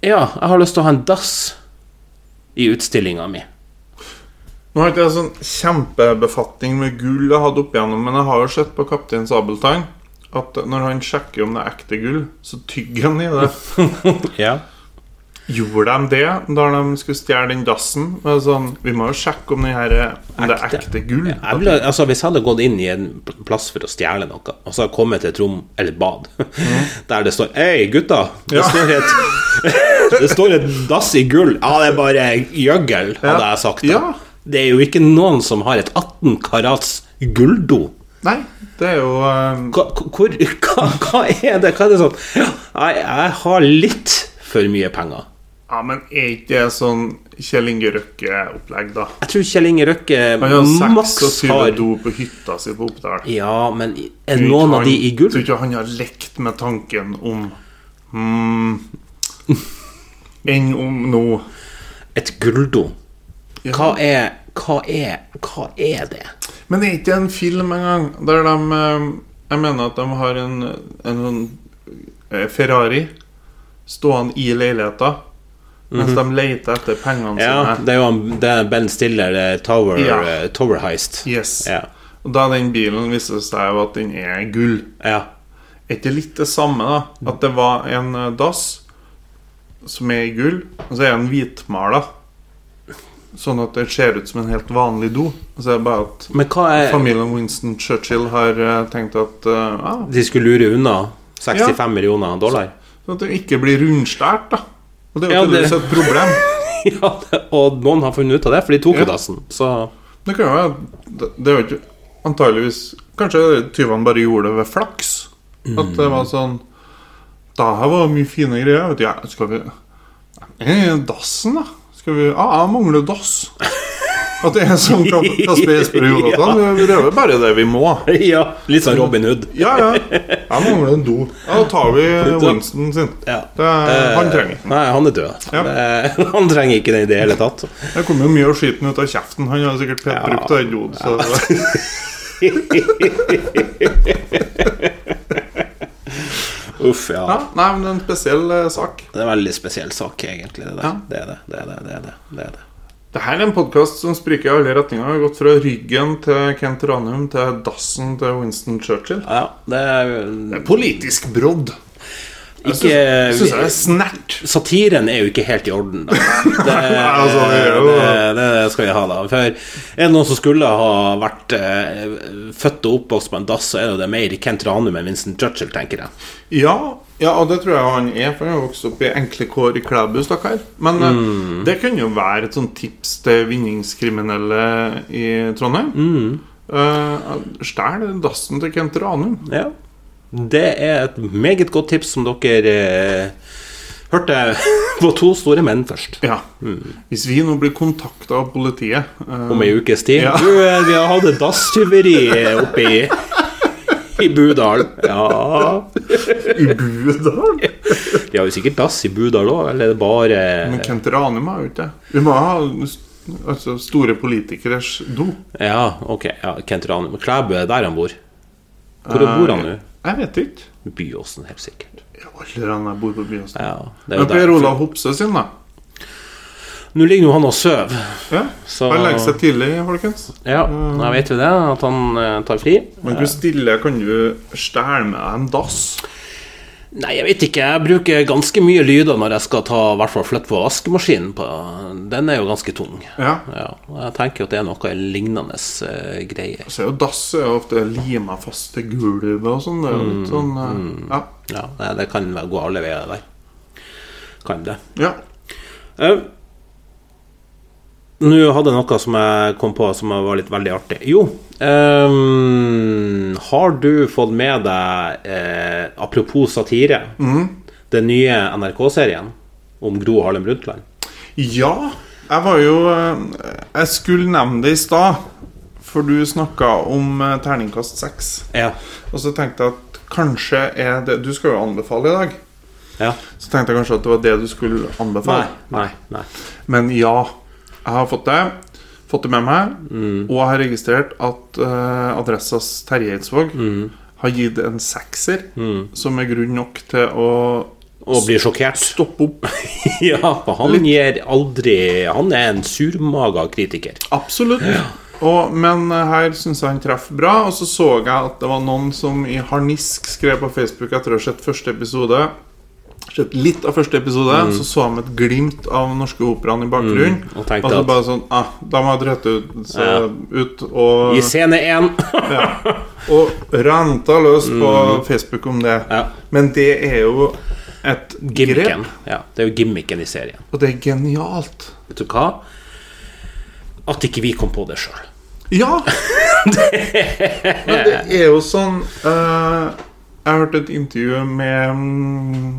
Speaker 2: Ja, jeg har lyst til å ha en dass i utstillinga mi.
Speaker 1: Nå har ikke jeg sånn kjempebefatning med gull jeg hadde opp igjennom, men jeg har jo sett på Kaptein Sabeltann at når han sjekker om det er ekte gull, så tygger han i det.
Speaker 2: Ja.
Speaker 1: Gjorde de det da de skulle stjele den dassen? Det er Sånn, vi må jo sjekke om, den her, er- om det er
Speaker 2: Ekte.
Speaker 1: ekte gull.
Speaker 2: Jeg ville, altså, hvis jeg hadde gått inn i en pl- plass for å stjele noe, og så hadde jeg kommet til et rom eller et bad der det står Hei, gutta! Det,
Speaker 1: Mhm. Ja.
Speaker 2: står et, det står et dass i gull. Ja, det er bare gjøgel, hadde jeg sagt. da.
Speaker 1: Ja.
Speaker 2: Det er jo ikke noen som har et 18 karats gulldo.
Speaker 1: Nei, det er jo eh,
Speaker 2: Hva, hvor, hva, hva er det? Hva er det sånn Nei, jeg har litt for mye penger.
Speaker 1: Ja, men er ikke det sånn Kjell Inge Røkke-opplegg, da?
Speaker 2: Jeg tror Kjell Inge Røkke
Speaker 1: Han har
Speaker 2: maks
Speaker 1: 26
Speaker 2: har
Speaker 1: do på hytta si på Oppdal.
Speaker 2: Ja, men er noen av de i gull?
Speaker 1: Tror ikke han har lekt med tanken om hmm, Enn om nå
Speaker 2: Et gulldo.
Speaker 1: Ja.
Speaker 2: Hva er Hva er Hva er det?
Speaker 1: Men er ikke det en film engang der de eh, Jeg mener at de har en, en sånn eh, Ferrari stående i leiligheta mens de leter etter pengene
Speaker 2: Mhm. Ja,
Speaker 1: sine.
Speaker 2: det er jo han- det er Ben Stiller, eh, Tower,
Speaker 1: Ja.
Speaker 2: eh, tower Heist.
Speaker 1: Yes.
Speaker 2: Ja.
Speaker 1: Og da den bilen viste det seg jo at den er gull.
Speaker 2: ja.
Speaker 1: Er ikke litt det samme, da? At det var en eh, dass som er i gull, og så er den hvitmala. Sånn at det ser ut som en helt vanlig do. Og så er det bare at
Speaker 2: Men hva er
Speaker 1: familien Winston Churchill har eh, tenkt at eh, ah,
Speaker 2: De skulle lure unna 65 millioner dollar?
Speaker 1: Sånn at de ikke blir rundstært, da. Og det er jo
Speaker 2: Ja,
Speaker 1: tydeligvis
Speaker 2: det-
Speaker 1: et problem.
Speaker 2: ja, det- og noen har funnet ut av det, for de tok
Speaker 1: Ja.
Speaker 2: jo dassen. Så
Speaker 1: Det kan jo være det- Det er jo ikke antageligvis Kanskje tyvene bare gjorde det ved flaks? At
Speaker 2: Mm.
Speaker 1: det var sånn Da her var mye fine greier. Vet du, ja, skal vi Eh, Dassen, da? Skal vi Ja, jeg mangler dass. At det er sånn Ka- Kasper Jesper og Jonathan. Vi prøver bare det vi må.
Speaker 2: ja, litt sånn Robin Hood.
Speaker 1: Ja, ja. Jeg mangler en do. Ja, da tar vi Winston sin.
Speaker 2: Ja. Eh.
Speaker 1: Det er, han trenger den.
Speaker 2: Nei, han er død.
Speaker 1: Ja.
Speaker 2: Det, han trenger ikke den i det hele tatt.
Speaker 1: Det kommer jo mye av skiten ut av kjeften. Han har sikkert
Speaker 2: Ja.
Speaker 1: brukt den doen, så
Speaker 2: Uff, ja.
Speaker 1: ja, Nei, men det er en spesiell eh, sak.
Speaker 2: Det er en veldig spesiell sak, egentlig. Det, der.
Speaker 1: Ja.
Speaker 2: det er det. Det er det. det, er det, det, er det.
Speaker 1: Det her er en podkast som spriker i alle retninger. Vi har gått fra ryggen til Kent Ranum til dassen til Winston Churchill.
Speaker 2: Ja, det er
Speaker 1: Politisk brodd.
Speaker 2: ikke
Speaker 1: Jeg syns det er snert.
Speaker 2: Satiren er jo ikke helt i orden, da. Det,
Speaker 1: altså, det er jo-
Speaker 2: det, det skal vi ha, da. For er det noen som skulle ha vært eh, født og oppvokst på en dass, så er det jo det mer Kent Ranum enn Winston Churchill, tenker jeg.
Speaker 1: Ja, ja, og det tror jeg han er, for han har vokst opp i enkle kår i Klæbu, stakkar. Men eh,
Speaker 2: Mm.
Speaker 1: det kan jo være et sånt tips til vinningskriminelle i Trondheim.
Speaker 2: Mm.
Speaker 1: Eh, Stjel dassen til Kent Ranum.
Speaker 2: Ja. Det er et meget godt tips som dere eh, hørte på to store menn først.
Speaker 1: Ja. Hvis vi nå blir kontakta av politiet eh,
Speaker 2: Om ei ukes tid.
Speaker 1: Ja.
Speaker 2: Du, eh, vi har hatt et dasstyveri oppe i, i Budal. Ja
Speaker 1: i Budal
Speaker 2: De har jo sikkert dass i Budal òg, eller er det bare
Speaker 1: Men Kent Ranum er jo ikke det. Vi må ha altså, store politikeres do.
Speaker 2: Ja, ok. Ja, Kent Ranum. Klæbu er der han bor. Hvor bor han nå?
Speaker 1: Eh, Jeg vet ikke.
Speaker 2: Byåsen, helt sikkert.
Speaker 1: Jeg har aldri han der bor på Byåsen.
Speaker 2: Ja, det er jo
Speaker 1: Men
Speaker 2: der.
Speaker 1: Per Olav Hopse sin, da.
Speaker 2: Nå ligger jo han og sover,
Speaker 1: Ja.
Speaker 2: så
Speaker 1: Han legger seg tidlig, folkens.
Speaker 2: Ja, jeg vet jo det, at han eh, tar fri.
Speaker 1: Men hvor stille kan du stjele med deg en dass?
Speaker 2: Nei, jeg vet ikke. Jeg bruker ganske mye lyder når jeg skal ta, i hvert fall flytte på vaskemaskinen. På. Den er jo ganske tung.
Speaker 1: Ja.
Speaker 2: Ja, og jeg tenker jo at det er noe lignende eh, greier.
Speaker 1: Så er jo dass er jo ofte lima fast til gulvet og sånn. Det er jo
Speaker 2: Mm,
Speaker 1: litt sånn eh, Ja.
Speaker 2: Ja, nei, det kan vel gå alle veier der. Kan det.
Speaker 1: ja.
Speaker 2: Eh, Nå hadde jeg noe som jeg kom på som var litt veldig artig. Jo, ehm, har du fått med deg, eh, apropos satire, den nye NRK-serien om Gro Harlem Brundtland?
Speaker 1: Ja, jeg var jo eh, Jeg skulle nevne det i stad, for du snakka om eh, terningkast seks.
Speaker 2: Ja.
Speaker 1: Og så tenkte jeg at kanskje er det Du skal jo anbefale i dag.
Speaker 2: ja.
Speaker 1: Så tenkte jeg kanskje at det var det du skulle
Speaker 2: Nei,
Speaker 1: anbefale.
Speaker 2: nei, nei.
Speaker 1: Men ja, jeg har fått det. Fått det med meg.
Speaker 2: Mm.
Speaker 1: Og jeg har registrert at eh, Adressas Terje Eidsvåg
Speaker 2: Mm.
Speaker 1: har gitt en sekser, som er grunn nok til å
Speaker 2: Og blir sjokkert.
Speaker 1: stoppe opp.
Speaker 2: ja, for han gir aldri Han er en surmaga kritiker.
Speaker 1: Absolutt. Og, men eh, her syns jeg han traff bra. Og så så jeg at det var noen som i harnisk skrev på Facebook etter å ha sett første episode. Sett litt av første episode, så så han et glimt av norske operaen i bakgrunnen.
Speaker 2: Mm. og
Speaker 1: og,
Speaker 2: tenkte
Speaker 1: så
Speaker 2: at-
Speaker 1: bare sånn ah, Da må jeg drøtte ut, så, ut
Speaker 2: I
Speaker 1: og,
Speaker 2: scene én
Speaker 1: og ranta løs på Facebook om det.
Speaker 2: Mm. Ja.
Speaker 1: Men det er jo et
Speaker 2: Gimmicken.
Speaker 1: grep,
Speaker 2: Ja, det er jo gimmicken i serien.
Speaker 1: og det er genialt.
Speaker 2: Vet du hva? At ikke vi kom på det sjøl.
Speaker 1: Ja! Men det er jo sånn eh, Jeg har hørt et intervju med mm,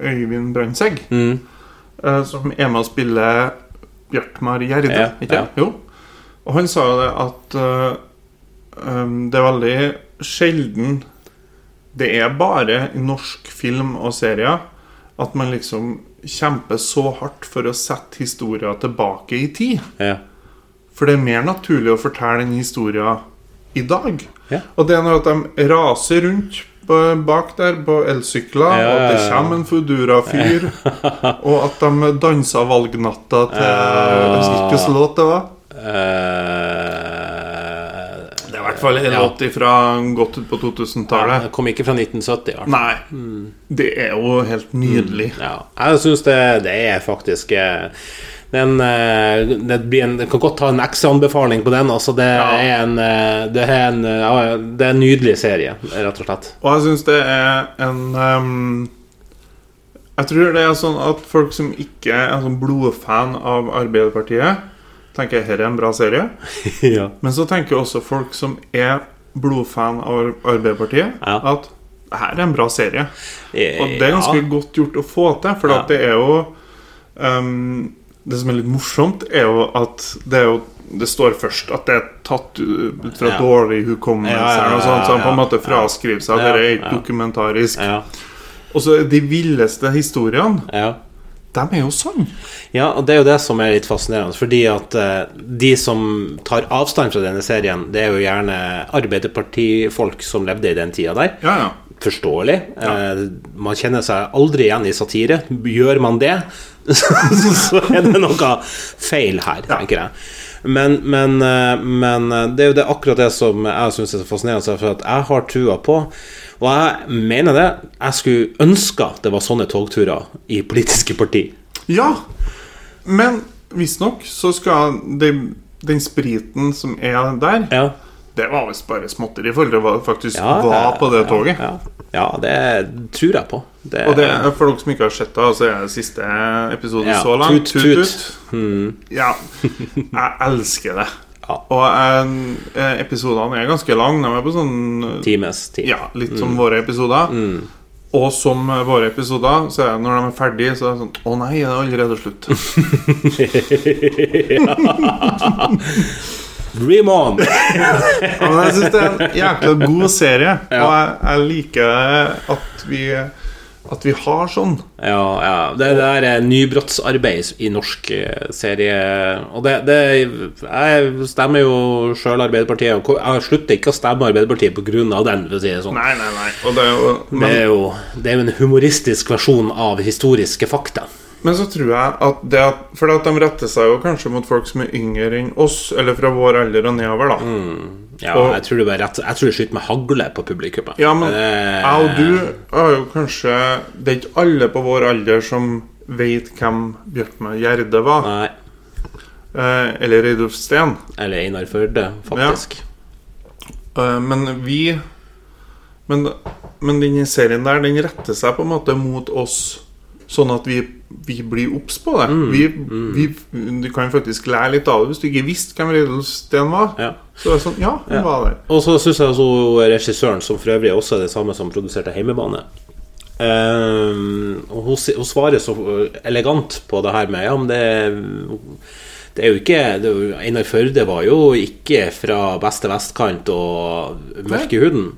Speaker 1: Øyvind Brandtzæg,
Speaker 2: Mm.
Speaker 1: eh, som er med og spiller Bjartmar Gjerde.
Speaker 2: Ja,
Speaker 1: ikke det? Jo. Og han sa jo det at eh, em, det er veldig sjelden Det er bare i norsk film og serier at man liksom kjemper så hardt for å sette historier tilbake i tid.
Speaker 2: Ja.
Speaker 1: For det er mer naturlig å fortelle den historien i dag.
Speaker 2: Ja.
Speaker 1: Og det er når at de raser rundt på- bak der på elsykler,
Speaker 2: Ja,
Speaker 1: og at det
Speaker 2: ja, ja.
Speaker 1: kommer en Foodora-fyr, og at de danser valgnatta til Jeg husker ikke hvilken låt det var.
Speaker 2: Eh,
Speaker 1: Det er i hvert fall en
Speaker 2: ja.
Speaker 1: låt fra godt ut på 2000-tallet.
Speaker 2: Det kom ikke fra 1970, i hvert fall.
Speaker 1: Nei.
Speaker 2: Mm.
Speaker 1: Det er jo helt nydelig.
Speaker 2: Ja. Jeg syns det, det er faktisk eh, den, eh, det, blir en, det kan godt ta en ekstra anbefaling på den. Altså det, er en, eh, det, er en, eh, ja, det er en nydelig serie, rett og slett.
Speaker 1: Og jeg syns det er en ehm, Jeg tror det er sånn at folk som ikke er sånn blodfan av Arbeiderpartiet, tenker her er en bra serie.
Speaker 2: ja.
Speaker 1: Men så tenker jo også folk som er blodfan av Arbeiderpartiet,
Speaker 2: Ja.
Speaker 1: at her er en bra serie.
Speaker 2: Eh,
Speaker 1: Og det er ganske godt gjort å få til, for
Speaker 2: Ja.
Speaker 1: at det er jo ehm, Det som er litt morsomt, er jo at det er jo det står først at det er tatt ut fra
Speaker 2: Ja.
Speaker 1: dårlig hukommelse,
Speaker 2: Ja, ja, ja,
Speaker 1: og sånt, så han på en
Speaker 2: ja,
Speaker 1: måte
Speaker 2: ja.
Speaker 1: fraskriver seg at
Speaker 2: Ja,
Speaker 1: det er ikke
Speaker 2: ja.
Speaker 1: dokumentarisk.
Speaker 2: ja.
Speaker 1: Og så er de villeste historiene,
Speaker 2: ja.
Speaker 1: dem er jo sann.
Speaker 2: Ja, og det er jo det som er litt fascinerende. Fordi at eh, de som tar avstand fra denne serien, det er jo gjerne Arbeiderpartifolk som levde i den tida der.
Speaker 1: Ja, ja.
Speaker 2: Forståelig. Eh, man kjenner seg aldri igjen i satire. Gjør man det, så er det noe feil her, tenker jeg. Men, men, eh, men eh, det er jo det akkurat det som jeg syns er så fascinerende, for at jeg har trua på Og jeg mener det. Jeg skulle ønske at det var sånne togturer i politiske parti.
Speaker 1: Ja, men visstnok så skal det, den spriten som er der,
Speaker 2: Ja
Speaker 1: det var visst bare småtteri i forhold til hva det faktisk
Speaker 2: Ja,
Speaker 1: var på det toget.
Speaker 2: Ja, ja. ja det tror jeg på. Det,
Speaker 1: Og det er for dere som ikke har sett det, altså er det siste episode
Speaker 2: Eh. Ja,
Speaker 1: så langt.
Speaker 2: tut,
Speaker 1: Tut,
Speaker 2: tut. Hmm.
Speaker 1: tut. Ja. Jeg elsker det.
Speaker 2: Ja.
Speaker 1: Og eh, episodene er ganske lange. De er på sånn
Speaker 2: times tid.
Speaker 1: Ja, litt
Speaker 2: Hmm.
Speaker 1: som våre episoder. Og som eh, våre episoder, så er det når de er ferdige, så er det sånn Å nei, det er allerede slutt.
Speaker 2: Remon!
Speaker 1: Ja, Men jeg syns det er en jækla god serie, og jeg, jeg liker at vi At vi har sånn.
Speaker 2: Ja, ja. Det, det der er nybrottsarbeid i norsk eh, serie. Og det, det Jeg stemmer jo sjøl Arbeiderpartiet, og ko- jeg slutter ikke å stemme Arbeiderpartiet pga. den, for å si det sånn.
Speaker 1: Nei, nei, nei. Og det er jo,
Speaker 2: Det
Speaker 1: men,
Speaker 2: er, jo, det er jo en humoristisk versjon av historiske fakta.
Speaker 1: men så tror jeg at det at For at de retter seg jo kanskje mot folk som er yngre enn oss, eller fra vår alder og nedover, da.
Speaker 2: Ja,
Speaker 1: Og-
Speaker 2: jeg tror det var rett Jeg tror det skyter med hagle på publikummet. Eh,
Speaker 1: Ja, men
Speaker 2: Det-
Speaker 1: jeg og du har jo kanskje Det er ikke alle på vår alder som vet hvem Bjørkman Gjerde var,
Speaker 2: Nei.
Speaker 1: eh, eller Reidulf Steen.
Speaker 2: Eller Einar Førde, faktisk.
Speaker 1: Eh, Men vi men, men denne serien der, den retter seg på en måte mot oss, sånn at vi, vi blir obs på det. vi, vi, du kan faktisk lære litt av det hvis du ikke visste hvem Reidulf Steen var.
Speaker 2: Ja.
Speaker 1: Så er det sånn Ja, hun var der.
Speaker 2: Og så syns jeg også regissøren, som for øvrig også er det samme som produserte Heimebane ehm, og hun, si- hun svarer så eh, elegant på det her med Ja, men det det er jo ikke det er jo, Einar Førde var jo ikke fra beste vestkant og mørk i huden.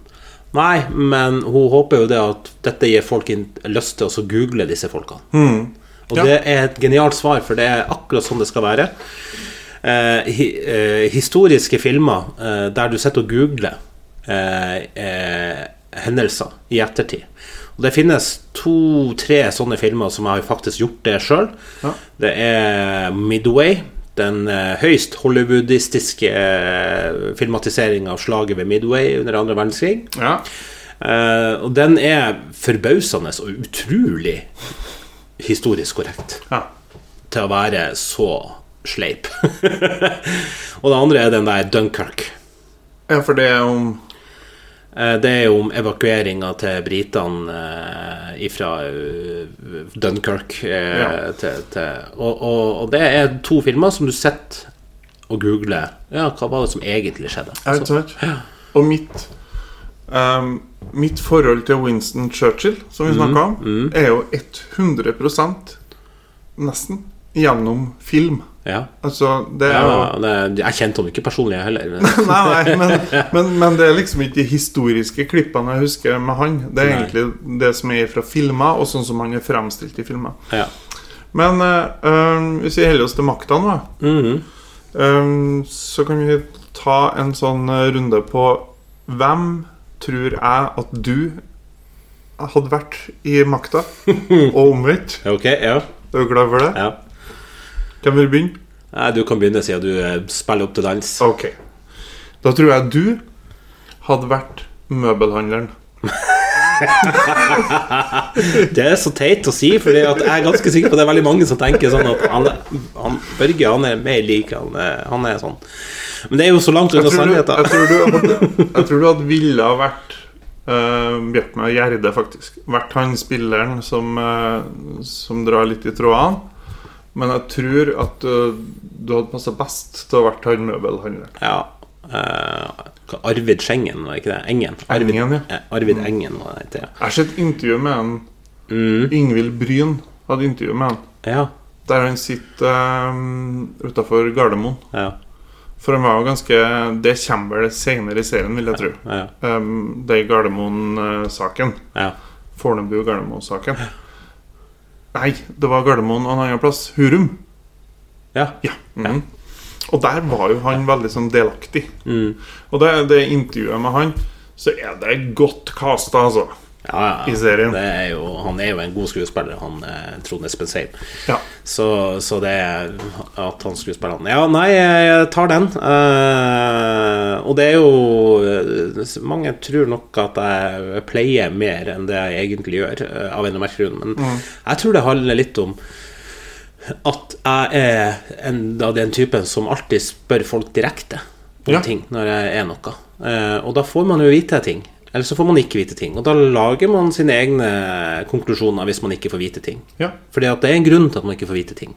Speaker 2: Nei, men hun håper jo det at dette gir folk in- lyst til å så google disse folkene. Og
Speaker 1: Ja.
Speaker 2: det er et genialt svar, for det er akkurat sånn det skal være. Eh, hi, eh, historiske filmer eh, der du sitter og googler eh, eh, hendelser i ettertid. Og Det finnes to-tre sånne filmer som har faktisk gjort det sjøl. Det er Midway. Den eh, høyst hollywoodistiske eh, filmatiseringa av slaget ved Midway under andre verdenskrig.
Speaker 1: Ja.
Speaker 2: Eh, og den er forbausende og utrolig historisk korrekt
Speaker 1: ja.
Speaker 2: til å være så sleip. og det andre er den der Dunkerque.
Speaker 1: Ja, for det er om
Speaker 2: Eh, Det er jo om evakueringa til britene eh, ifra eh, Dunkerque eh,
Speaker 1: Ja.
Speaker 2: til, til og, og, og det er to filmer som du sitter og googler Ja, hva var det som egentlig skjedde?
Speaker 1: Ja, ikke sant? Og mitt ehm, Mitt forhold til Winston Churchill, som vi snakka om, er jo 100 nesten gjennom film.
Speaker 2: Ja.
Speaker 1: Altså, det er jo
Speaker 2: Ja, det, jeg kjente ham ikke personlig, jeg heller. Men
Speaker 1: Nei, nei, men, men, men det er liksom ikke de historiske klippene jeg husker med han. Det er
Speaker 2: Nei.
Speaker 1: egentlig det som er fra filmer, og sånn som han er fremstilt i filmer.
Speaker 2: ja.
Speaker 1: Men eh, øhm, hvis vi holder oss til makta nå,
Speaker 2: Mhm.
Speaker 1: øhm, så kan vi ta en sånn eh, runde på hvem tror jeg at du hadde vært i makta, og omvendt.
Speaker 2: Ok, ja.
Speaker 1: Er du klar for det?
Speaker 2: ja.
Speaker 1: Hvem vil begynne?
Speaker 2: Nei, Du kan begynne siden du eh, spiller opp til dans.
Speaker 1: Ok. Da tror jeg du hadde vært møbelhandleren.
Speaker 2: Det er så teit å si, Fordi at jeg er ganske sikker på at det er veldig mange som tenker sånn at han, han, Børge han er mer lik han, er- han er sånn. Men det er jo så langt
Speaker 1: Jeg
Speaker 2: unna
Speaker 1: tror, du, jeg,
Speaker 2: sannheten.
Speaker 1: tror du hadde, jeg tror du hadde ville ha vært eh, Bjørkman Gjerde, faktisk. Vært han spilleren som, eh, som drar litt i trådene. Men jeg tror at eh, du hadde passa best til å ha vært han møbelhandleren.
Speaker 2: Ja. eh, hva- Arvid Schengen, var det ikke det? Engen? Arvid,
Speaker 1: Engen, ja.
Speaker 2: eh, Arvid Engen, var det det.
Speaker 1: Jeg har sett intervju med han.
Speaker 2: Mm,
Speaker 1: Ingvild Bryn hadde intervju med han.
Speaker 2: ja.
Speaker 1: Der han sitter um, utafor Gardermoen.
Speaker 2: Ja,
Speaker 1: For han var jo ganske Det kommer vel senere i serien, vil jeg tro.
Speaker 2: ja,
Speaker 1: Um, det er Gardermoen-saken.
Speaker 2: ja.
Speaker 1: Fornebu-Gardermoen-saken. Nei, det var Gardermoen og en annen plass. Hurum.
Speaker 2: ja.
Speaker 1: Ja. mhm. Og der var jo han veldig sånn delaktig.
Speaker 2: Mm.
Speaker 1: Og det, det intervjuet med han, så er det godt kasta, altså.
Speaker 2: Ja, ja, ja.
Speaker 1: I serien.
Speaker 2: Det er jo, han er jo en god skuespiller, han eh, Trond Espen Seim.
Speaker 1: Ja.
Speaker 2: Så, så det er at han skuespiller han Ja, nei, jeg tar den. Eh, og det er jo eh, Mange tror nok at jeg pleier mer enn det jeg egentlig gjør, eh, av en eller annen merkelig grunn, men
Speaker 1: Mm.
Speaker 2: jeg tror det handler litt om at jeg er en av den typen som alltid spør folk direkte om
Speaker 1: Ja.
Speaker 2: ting når jeg er noe. Eh, og da får man jo vite ting. Eller så får man ikke vite ting. Og da lager man sine egne konklusjoner hvis man ikke får vite ting.
Speaker 1: Ja.
Speaker 2: Fordi at det er en grunn til at man ikke får vite ting.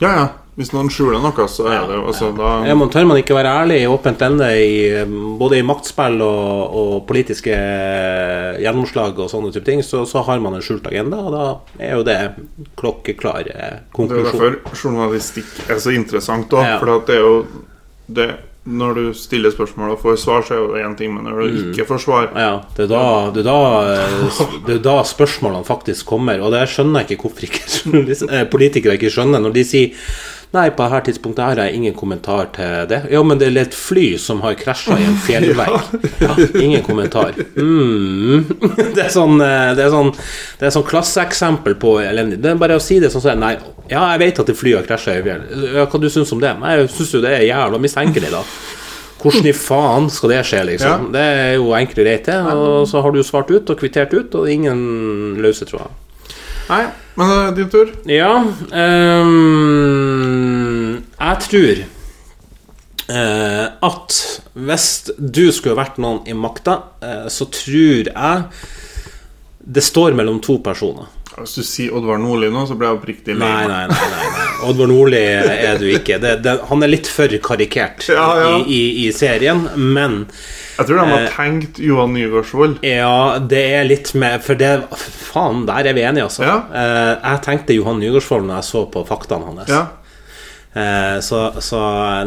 Speaker 1: ja, ja. Hvis noen skjuler noe, så er det jo altså,
Speaker 2: Ja,
Speaker 1: da,
Speaker 2: man tør man ikke være ærlig i åpent lende i, eh, både i maktspill og, og politiske eh, gjennomslag og sånne type ting, så, så har man en skjult agenda, og da er jo det klokkeklar eh,
Speaker 1: Det er jo
Speaker 2: konklusjon.
Speaker 1: derfor journalistikk er så interessant òg.
Speaker 2: Ja.
Speaker 1: For at det er jo det Når du stiller spørsmål og får svar, så er jo det én ting, men når du
Speaker 2: Mm.
Speaker 1: ikke får svar
Speaker 2: Ja, det er da, det er da, eh, s- det er da spørsmålene faktisk kommer, og det skjønner jeg ikke hvorfor ikke journalist- eh, politikere ikke skjønner når de sier Nei, på dette tidspunktet her har jeg ingen kommentar til det. Ja, men det er et fly som har krasja i en fjellvegg. Ja, ingen kommentar. Mm. Det er sånn, eh, det er sånn, det er sånn klasseeksempel på elendig. Det er bare å si det sånn som det er. Nei, ja, jeg vet at det flyet har krasja i en fjell. Ja, hva du syns om det? Nei, jeg syns jo det er jævla mistenkelig, da. Hvordan i faen skal det skje, liksom? Det er jo enkelt og greit, det. Og så har du jo svart ut og kvittert ut, og ingen løse tråder.
Speaker 1: Nei, men det er din tur.
Speaker 2: Ja ehm, Jeg tror eh, at hvis du skulle vært noen i makta, eh, så tror jeg det står mellom to personer.
Speaker 1: Hvis du sier Oddvar Nordli nå, så blir jeg oppriktig lei
Speaker 2: Nei,
Speaker 1: meg.
Speaker 2: nei, nei. nei, nei. Oddvar Nordli er du ikke. Det, det, han er litt for karikert
Speaker 1: Ja, ja.
Speaker 2: I, i, i serien, men
Speaker 1: Jeg tror de
Speaker 2: Eh.
Speaker 1: har tenkt Johan Nygaardsvold.
Speaker 2: Ja, det er litt mer For det Faen, der er vi enige, altså.
Speaker 1: Ja.
Speaker 2: Eh, jeg tenkte Johan Nygaardsvold når jeg så på faktaene hans.
Speaker 1: Ja.
Speaker 2: Eh, så så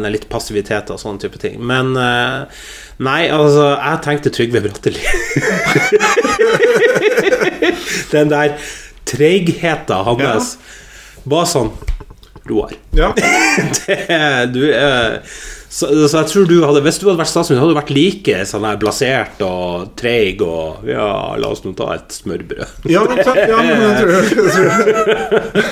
Speaker 2: nei, litt passivitet og sånne type ting. Men eh, nei, altså Jeg tenkte Trygve Bratteli. Den der treigheten hans var sånn Roar.
Speaker 1: ja.
Speaker 2: Det- du, eh, så, så jeg tror du hadde Hvis du hadde vært statsminister, hadde du vært like sånn her blasert og treig og Ja, la oss nå ta et smørbrød.
Speaker 1: Ja, men takk. Ja, men jeg tror, jeg tror.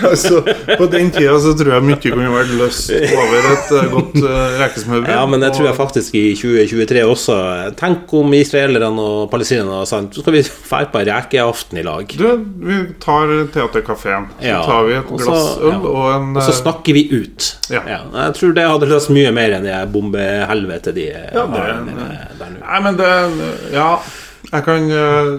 Speaker 1: Altså, på den tida så tror jeg mye kunne vært løst over et eh, godt uh, rekesmørbrød.
Speaker 2: Ja, men det tror jeg
Speaker 1: Og-
Speaker 2: faktisk i 2023 også. eh, Tenk om israelerne og palestinerne sa Så skal vi dra på rekeaften i lag.
Speaker 1: Du, vi tar Theatercaféen. Så
Speaker 2: Ja,
Speaker 1: tar vi et
Speaker 2: og så-
Speaker 1: glass øl
Speaker 2: ja.
Speaker 1: og en
Speaker 2: Og så
Speaker 1: eh,
Speaker 2: snakker vi ut.
Speaker 1: Ja.
Speaker 2: Jeg tror det hadde løst mye mer enn det bombehelvetet de
Speaker 1: Ja, det- eh,
Speaker 2: har nede der nå.
Speaker 1: Nei, men det Ja. Jeg kan, eh,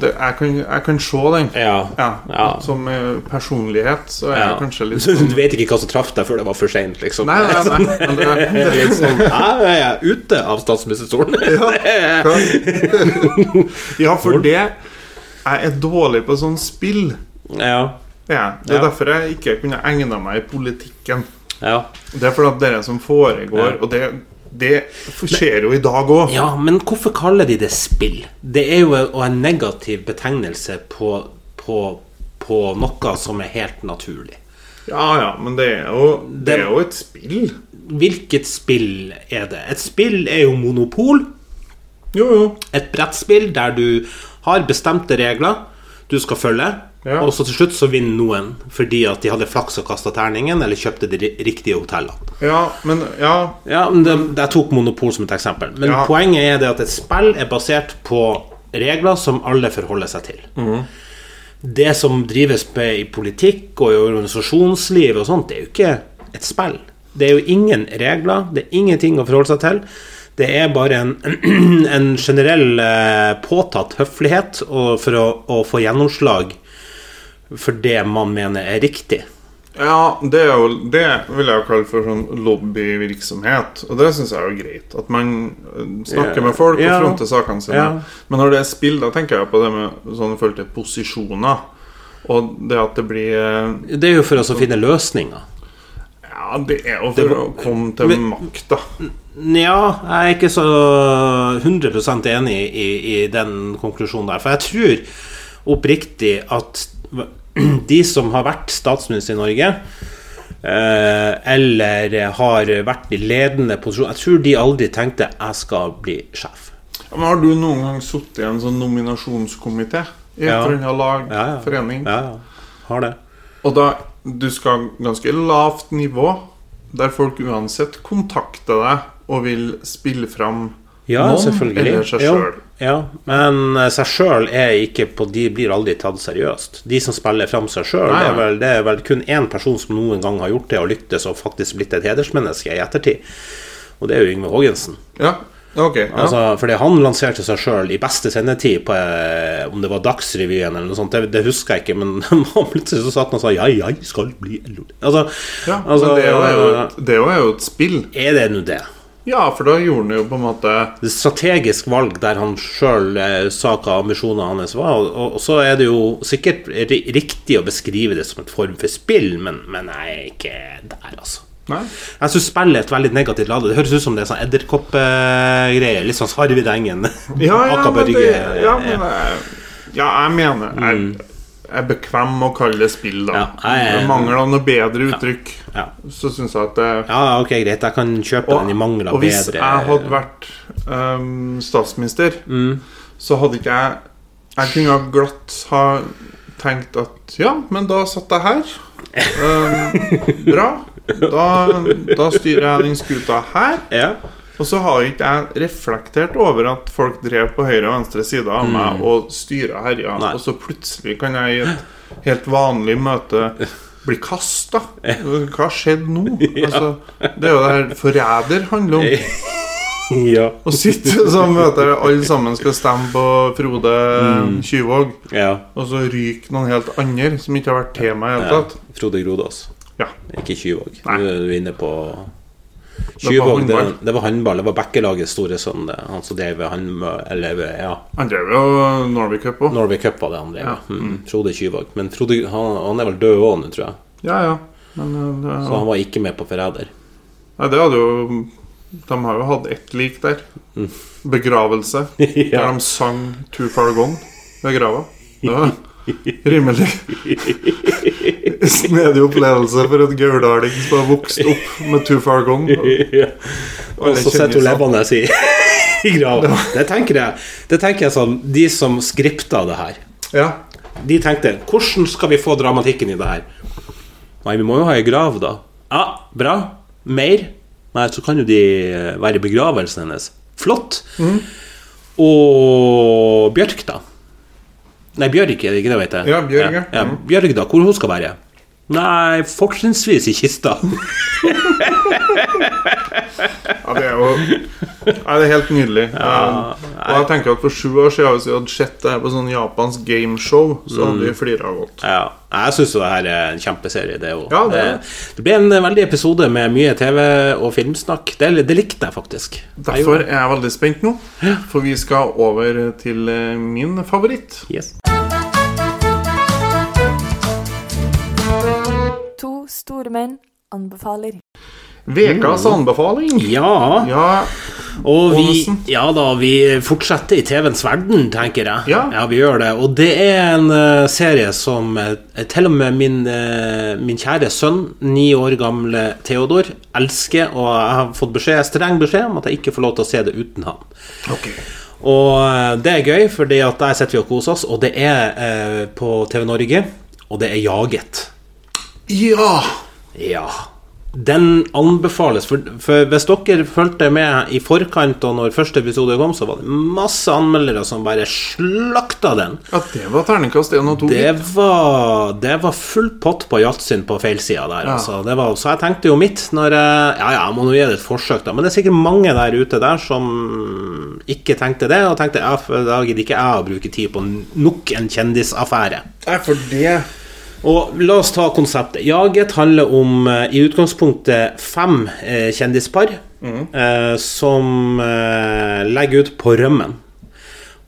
Speaker 1: det, jeg kan, jeg kan se den.
Speaker 2: Ja.
Speaker 1: Ja.
Speaker 2: Ja.
Speaker 1: Som eh, personlighet så er jeg kanskje litt sånn-
Speaker 2: Du vet ikke hva som traff deg før det var for seint, liksom.
Speaker 1: Nei, nei, nei. Men det, det,
Speaker 2: Litt sånn, Her er jeg ute av statsministerstolen.
Speaker 1: ja, for det Jeg er dårlig på sånn spill.
Speaker 2: ja.
Speaker 1: Ja, det er
Speaker 2: Ja.
Speaker 1: derfor jeg ikke kunne egna meg i politikken.
Speaker 2: Ja.
Speaker 1: Det er fordi at det er det som foregår,
Speaker 2: Ja.
Speaker 1: og det, det skjer jo i dag òg.
Speaker 2: ja, men hvorfor kaller de det spill? Det er jo en- og en negativ betegnelse på, på, på noe som er helt naturlig.
Speaker 1: Ja ja, men det er jo, det er jo et spill.
Speaker 2: Hvilket spill er det? Et spill er jo monopol.
Speaker 1: Jo jo.
Speaker 2: Et brettspill der du har bestemte regler du skal følge,
Speaker 1: Ja.
Speaker 2: og så til slutt så vinner noen fordi at de hadde flaks og kasta terningen, eller kjøpte de ri- riktige hotellene.
Speaker 1: Ja, men Ja.
Speaker 2: Ja, men det, Jeg tok Monopol som et eksempel. Men
Speaker 1: Ja.
Speaker 2: poenget er det at et spill er basert på regler som alle forholder seg til. Det som drives med i politikk og i organisasjonsliv og sånt, det er jo ikke et spill. Det er jo ingen regler, det er ingenting å forholde seg til. Det er bare en, en generell eh, påtatt høflighet og for å, å få gjennomslag for det man mener er riktig.
Speaker 1: Ja, det, er jo, det vil jeg jo kalle for sånn lobbyvirksomhet. Og det syns jeg er jo greit. At man øh, snakker
Speaker 2: Ja.
Speaker 1: med folk og
Speaker 2: Ja.
Speaker 1: fronter sakene sine.
Speaker 2: Ja.
Speaker 1: Men når det er spill, da tenker jeg på det med sånn i forhold til posisjoner. Og det at det blir øh,
Speaker 2: Det er jo for oss å finne løsninger.
Speaker 1: Ja, det er jo for å komme til
Speaker 2: Men-
Speaker 1: makta.
Speaker 2: Nja, jeg er ikke så 100 enig i, i den konklusjonen der. For jeg tror oppriktig at de som har vært statsminister i Norge, eh, eller har vært i ledende posisjon Jeg tror de aldri tenkte 'jeg skal bli sjef'.
Speaker 1: Ja, Men har du noen gang sittet i en sånn nominasjonskomité? I et
Speaker 2: Ja.
Speaker 1: eller annet lag,
Speaker 2: Ja, ja.
Speaker 1: forening?
Speaker 2: Ja, ja. Har det.
Speaker 1: Og da Du skal ganske lavt nivå, der folk uansett kontakter deg og vil spille fram
Speaker 2: Ja,
Speaker 1: noen
Speaker 2: selvfølgelig.
Speaker 1: eller seg
Speaker 2: Jo,
Speaker 1: sjøl.
Speaker 2: Ja, men eh, seg sjøl er ikke på De blir aldri tatt seriøst. De som spiller fram seg sjøl,
Speaker 1: Nei,
Speaker 2: det, er
Speaker 1: nei.
Speaker 2: vel- det er vel kun én person som noen gang har gjort det og lyktes og faktisk blitt et hedersmenneske i ettertid. Og det er jo Yngve Haagensen.
Speaker 1: Ja, ok. Ja.
Speaker 2: Altså, fordi han lanserte seg sjøl i beste sendetid på eh, om det var Dagsrevyen eller noe sånt, det, det husker jeg ikke, men han plutselig så satt han og sa ja, jeg skal bli LO. Altså,
Speaker 1: ja, men
Speaker 2: altså,
Speaker 1: det, var jo et, det var jo et spill.
Speaker 2: er det nå det?
Speaker 1: Ja, for da gjorde han jo på en måte
Speaker 2: det strategisk valg der han sjøl eh, sa hva ambisjonene hans var. Og, og, og så er det jo sikkert ri riktig å beskrive det som en form for spill, men, men jeg er ikke der, altså.
Speaker 1: Nei.
Speaker 2: Jeg syns spillet er et veldig negativt lade. Det høres ut som det er sånn edderkoppgreie. Litt sånn Sarvid Engen.
Speaker 1: Ja, ja, men det, Mm.
Speaker 2: Akabørge.
Speaker 1: ja, men jeg, ja, jeg mener jeg, jeg er bekvem med å kalle det spill, da.
Speaker 2: Ja, jeg er-
Speaker 1: Det mangler noe bedre uttrykk.
Speaker 2: Ja.
Speaker 1: Så syns jeg at eh, det
Speaker 2: ja, ok, greit. Jeg kan kjøpe den i mangel av
Speaker 1: og hvis
Speaker 2: bedre
Speaker 1: jeg hadde vært ehm, statsminister,
Speaker 2: Mm.
Speaker 1: så hadde ikke jeg Jeg kunne ha glatt ha tenkt at ja, men da satt jeg her. Ehm, bra. Da, da styrer jeg den skuta her.
Speaker 2: ja.
Speaker 1: Og så har ikke jeg reflektert over at folk drev på høyre og venstre side av meg og styra herja,
Speaker 2: Mm. Nei.
Speaker 1: og så plutselig kan jeg i et helt vanlig møte bli kasta. Hva skjedde nå? Altså, det er jo det her forræder handler om.
Speaker 2: ja.
Speaker 1: Å sitte i sånn møte der alle sammen skal stemme på Frode
Speaker 2: Mm.
Speaker 1: Kyvåg,
Speaker 2: ja.
Speaker 1: og så ryker noen helt andre som ikke har vært tema i det hele tatt.
Speaker 2: Frode Grodås.
Speaker 1: Ja.
Speaker 2: Ikke Kyvåg.
Speaker 1: Nei.
Speaker 2: Du er du inne på
Speaker 1: var
Speaker 2: Kyvåg, det,
Speaker 1: håndball.
Speaker 2: det var håndball. Det var Bekkelagets store sønn, det. han som drev håndball Eller, ja,
Speaker 1: Han drev jo Norway Cup òg.
Speaker 2: Norway Cup var det han drev.
Speaker 1: Ja.
Speaker 2: Mm. Frode Kyvåg. Men Frode, han, han er vel død òg nå, tror jeg.
Speaker 1: Ja, ja. Men eh, det,
Speaker 2: Så han var ikke med på Forræder.
Speaker 1: Nei, det hadde jo De har jo hatt ett lik der. Begravelse. Der
Speaker 2: ja.
Speaker 1: de sang 'Too Far Gone' ved grava. Det var rimelig snedig opplevelse for en gaularling som har vokst opp med 'Too Far Gone'.
Speaker 2: Og så sitter hun levende i, i grava. Det tenker jeg Det tenker jeg sånn De som skripta det her,
Speaker 1: Ja.
Speaker 2: de tenkte Hvordan skal vi få dramatikken i det her? Nei, vi må jo ha ei grav, da. Ja, bra. Mer? Nei, så kan jo de eh, være i begravelsen hennes. Flott.
Speaker 1: Mm.
Speaker 2: Og Bjørk, da. Nei, Bjørg, er det ikke det hun heter?
Speaker 1: Ja, Mm. Bjørg, ja.
Speaker 2: ja. ja. Bjørg, da. Hvor hun skal være? Nei, fortrinnsvis i kista.
Speaker 1: ja, det er jo Nei, det er helt nydelig. Eh, og jeg tenker at For sju år siden, hvis vi hadde sett det her på sånn japansk gameshow, så hadde vi flira godt.
Speaker 2: Ja, jeg syns jo det her er en kjempeserie. Det, er jo.
Speaker 1: Ja, det er det.
Speaker 2: Eh, det ble en veldig episode med mye TV og filmsnakk. Det, det likte jeg faktisk.
Speaker 1: Derfor er jeg veldig spent nå, for vi skal over til eh, min favoritt.
Speaker 2: Yes.
Speaker 3: To store menn anbefaler.
Speaker 1: Vekas anbefaling.
Speaker 2: Ja,
Speaker 1: Ja,
Speaker 2: og vi,
Speaker 1: Ålesen.
Speaker 2: ja da, vi fortsetter i TV-ens verden, tenker jeg.
Speaker 1: Ja.
Speaker 2: vi gjør det. Og det er en eh, serie som eh, til og med min, eh, min kjære sønn, ni år gamle Theodor, elsker. Og jeg har fått beskjed, streng beskjed om at jeg ikke får lov til å se det uten han.
Speaker 1: ok.
Speaker 2: Og eh, det er gøy, fordi at der sitter vi og koser oss, og det er eh, på TV Norge, og det er Jaget.
Speaker 1: Ja!
Speaker 2: Ja. den anbefales. For, for hvis dere fulgte med i forkant og når første episode kom, så var det masse anmeldere som bare slakta den.
Speaker 1: Ja, det var terningkast 1 og 2.
Speaker 2: Det var, det var full pott på Yatzy på feilsida der, altså. Det var, så jeg tenkte jo mitt når jeg Ja ja, jeg må nå gi det et forsøk, da. Men det er sikkert mange der ute der som ikke tenkte det, og tenkte ja, for da gidder ikke jeg å bruke tid på nok en kjendisaffære.
Speaker 1: Nei, for det
Speaker 2: Og la oss ta konseptet. Jaget handler om eh, i utgangspunktet fem eh, kjendispar eh, som eh, legger ut på rømmen.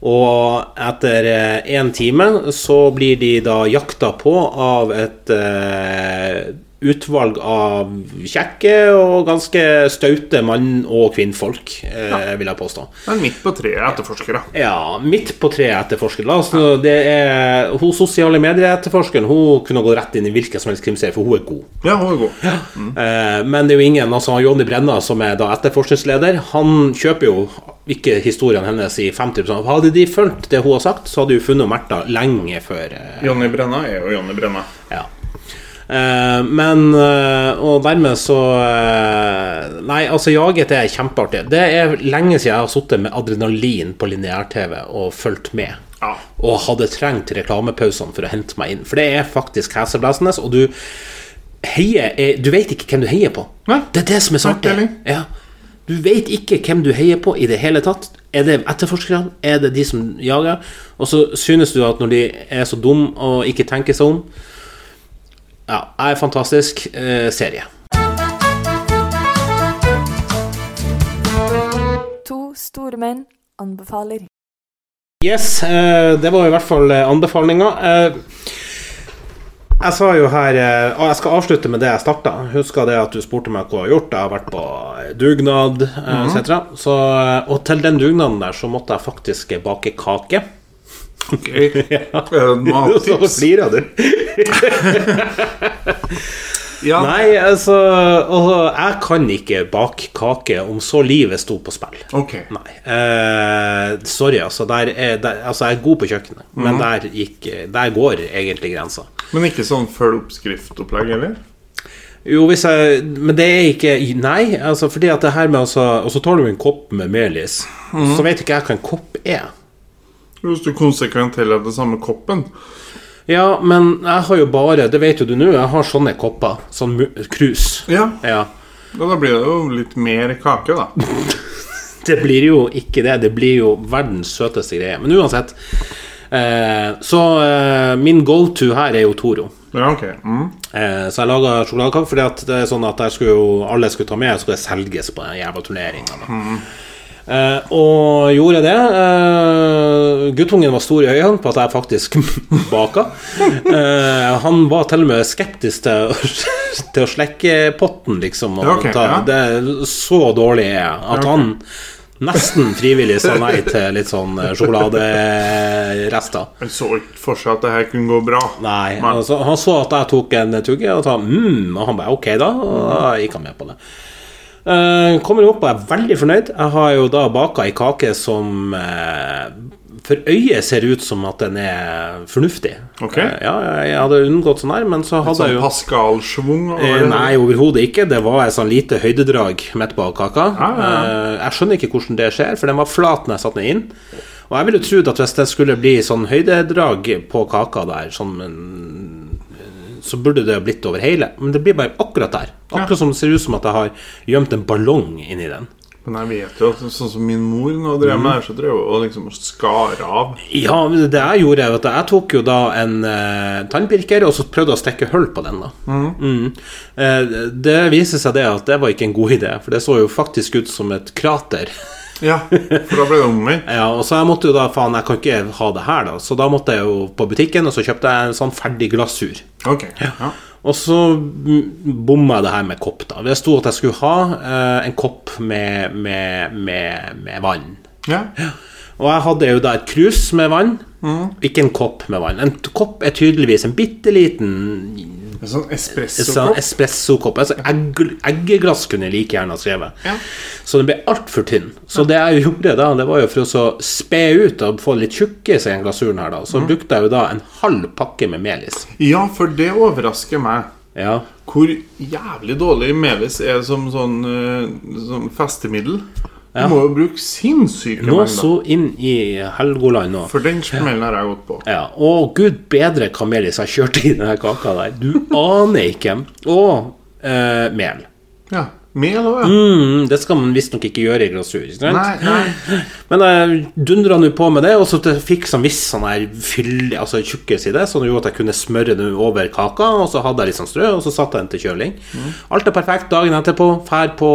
Speaker 2: Og etter én time så blir de da jakta på av et eh, utvalg av kjekke og ganske staute mann- og kvinnfolk, eh, vil jeg påstå.
Speaker 1: Men midt på treet etterforskere.
Speaker 2: Ja, midt på treet etterforsker. La oss nå det er Hun sosiale medieetterforskeren Hun kunne gå rett inn i hvilken som helst krimserie, for hun er god.
Speaker 1: Ja, hun er god.
Speaker 2: Eh, Men det er jo ingen Altså, han Johnny Brenna, som er da etterforskningsleder, han kjøper jo ikke historien hennes i 50 Hadde de fulgt det hun har sagt, så hadde hun funnet Märtha lenge før eh,
Speaker 1: Jonny Brenna er jo Jonny Brenna.
Speaker 2: ja. Eh, men eh, Og dermed så eh, Nei, altså, jaget er kjempeartig. Det er lenge siden jeg har sittet med adrenalin på lineær-TV og fulgt med.
Speaker 1: Ja.
Speaker 2: Og hadde trengt reklamepausene for å hente meg inn. For det er faktisk heseblesende, og du heier eh, Du vet ikke hvem du heier på.
Speaker 1: Nei.
Speaker 2: Det er det som er så artig.
Speaker 1: Maktdeling.
Speaker 2: Ja. Du vet ikke hvem du heier på i det hele tatt. Er det etterforskerne? Er det de som jager? Og så synes du at når de er så dum og ikke tenker seg om Ja, er fantastisk eh, serie.
Speaker 3: To store menn anbefaler ring.
Speaker 2: Yes, eh, det var i hvert fall eh, anbefalinga. Eh, jeg sa jo her eh, ah, Jeg skal avslutte med det jeg starta. Husker det at du spurte meg hva jeg har gjort. Jeg har vært på dugnad eh, etc. Så, eh, og til den dugnaden der så måtte jeg faktisk eh, bake kake.
Speaker 1: Ok. Eh, Mattips.
Speaker 2: flirer du.
Speaker 1: Ja.
Speaker 2: Nei, altså og Jeg kan ikke bake kake om så livet sto på spill.
Speaker 1: Ok.
Speaker 2: Nei. Eh, sorry, altså. Der er, der, altså. Jeg er god på kjøkkenet, men der, gikk, der går egentlig grensa.
Speaker 1: Men ikke sånn følg oppskriftopplegg, eller?
Speaker 2: Jo, hvis jeg Men det er ikke Nei, altså, fordi at det her med altså, Og så tar du en kopp med melis, så vet ikke jeg hva en kopp er.
Speaker 1: Hvis du konsekvent heller den samme koppen.
Speaker 2: Ja, men jeg har jo bare Det vet jo du nå, jeg har sånne kopper. Sånn mu- krus.
Speaker 1: Ja,
Speaker 2: Ja.
Speaker 1: da blir det jo litt mer kake, da.
Speaker 2: Det blir jo ikke det. Det blir jo verdens søteste greie. Men uansett. Eh, så eh, min go to her er jo Toro.
Speaker 1: Ja, ok. Mm.
Speaker 2: Eh, så jeg laga sjokoladekake fordi at det er sånn at der skulle jo, alle skulle ta med, skulle det selges på den jævla turneringa. Eh, og gjorde det. Eh, guttungen var stor i øynene på at jeg faktisk baka. Eh, han var til og med skeptisk til, å- til å slekke potten, liksom. Og
Speaker 1: Ja, ok,
Speaker 2: ta,
Speaker 1: ja.
Speaker 2: Det så dårlig er jeg at han nesten frivillig sa nei til litt sånn eh, sjokoladerester.
Speaker 1: Jeg så ikke for seg at det her kunne gå bra.
Speaker 2: Nei, altså, han så at jeg tok en tugge og sa mm, og han bare ok, da. Og da gikk han med på det. Eh, kommer opp og er veldig fornøyd. Jeg har jo da baka ei kake som eh, for øyet ser ut som at den er fornuftig.
Speaker 1: Ok.
Speaker 2: Eh, ja, jeg hadde unngått sånn her, men så hadde
Speaker 1: Sånn
Speaker 2: jeg jo
Speaker 1: Pascal-schwung over
Speaker 2: Eh,
Speaker 1: det.
Speaker 2: Nei, overhodet ikke. Det var et sånn lite høydedrag midt på kaka.
Speaker 1: Ja, Ah, ja, ja.
Speaker 2: Eh, Jeg skjønner ikke hvordan det skjer, for den var flat når jeg satte den inn. Og jeg ville trodd at hvis det skulle bli sånn høydedrag på kaka der, sånn, en- så burde det ha blitt over hele. Men det blir bare akkurat der. Akkurat som det ser ut som at jeg har gjemt en ballong inni den.
Speaker 1: Men jeg vet jo at sånn som min mor nå drev med, her, så drev hun og liksom skar av.
Speaker 2: Ja, men det jeg gjorde, vet du, jeg tok jo da en eh, tannpirker og så prøvde jeg å stikke hull på den. da Mm. Eh, Det viser seg det at det var ikke en god idé, for det så jo faktisk ut som et krater.
Speaker 1: Ja, for da ble det omvendt.
Speaker 2: Ja, og så jeg måtte jo da, faen, jeg kan ikke ha det her, da. Så da måtte jeg jo på butikken, og så kjøpte jeg en sånn ferdig glasur.
Speaker 1: Ok. Ja.
Speaker 2: Og så mm, bomma jeg det her med kopp, da. Det sto at jeg skulle ha eh, en kopp med, med, med, med vann.
Speaker 1: ja.
Speaker 2: Og jeg hadde jo da et krus med vann, ikke en kopp med vann. En t- kopp er tydeligvis en bitte liten
Speaker 1: En sånn
Speaker 2: sånn
Speaker 1: espressokopp.
Speaker 2: espressokopp. Altså egg, eggeglass kunne jeg like gjerne ha skrevet.
Speaker 1: Ja.
Speaker 2: Så den ble altfor tynn. Så det jeg gjorde da, det var jo for å så spe ut og få litt tjukkis i den
Speaker 1: Mhm.
Speaker 2: glasuren her, da. Så brukte jeg jo da en halv pakke med melis.
Speaker 1: Ja, for det overrasker meg.
Speaker 2: Ja.
Speaker 1: Hvor jævlig dårlig Melis er som sånn eh, som festemiddel. Du
Speaker 2: Ja.
Speaker 1: må jo bruke sinnssyke
Speaker 2: Nå
Speaker 1: mengder.
Speaker 2: så inn i Helgoland nå.
Speaker 1: For den smellen har jeg gått på.
Speaker 2: Ja. Å, gud bedre hva Melis har kjørt i denne kaka der. Du aner ikke. Og eh, mel.
Speaker 1: Ja. Mel òg, ja.
Speaker 2: Mm, det skal man visstnok ikke gjøre i glasur. Ikke sant?
Speaker 1: Nei, nei.
Speaker 2: Men jeg dundra nå på med det, og så fikk jeg sånn viss sånn her fyll, altså tjukkes i det, sånn at jeg kunne smøre det over kaka, og så hadde jeg litt sånn strø, og så satte jeg den til kjøling. Alt er perfekt dagen etterpå. Fær på,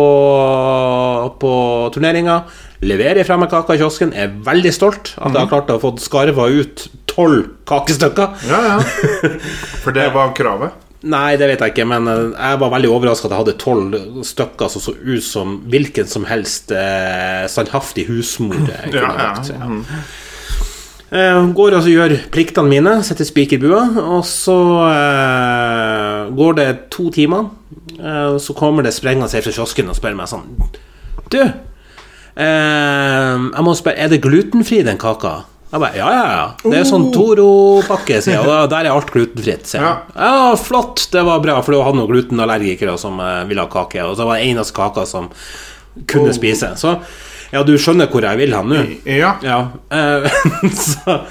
Speaker 2: på turneringa, leverer fra meg kaka i kiosken, er veldig stolt at jeg har klart å få skarva ut tolv kakestykker.
Speaker 1: Ja, ja. For det var kravet.
Speaker 2: Nei, det vet jeg ikke, men eh, jeg var veldig overraska at jeg hadde tolv stykker som så ut som hvilken som helst eh, standhaftig husmor. eh, Kunne
Speaker 1: Ja,
Speaker 2: jeg
Speaker 1: ja.
Speaker 2: sagt, ja. Eh, går og så gjør pliktene mine, setter spikerbua, og så eh, går det to timer. Eh, så kommer det sprengende seg fra kiosken og spør meg sånn Du, eh, jeg må spørre, er det glutenfri, den kaka? Jeg bare, ja, ja, ja. Det er sånn Toro-pakke, sier jeg. Og da- der er alt glutenfritt, sier jeg. Ja. flott, det var bra, for det var noen glutenallergikere som eh, ville ha kake. Og så var det eneste kaka som kunne spise. Så ja, du skjønner hvor Oh. jeg vil hen nå.
Speaker 1: Ja.
Speaker 2: Ja. eh, så,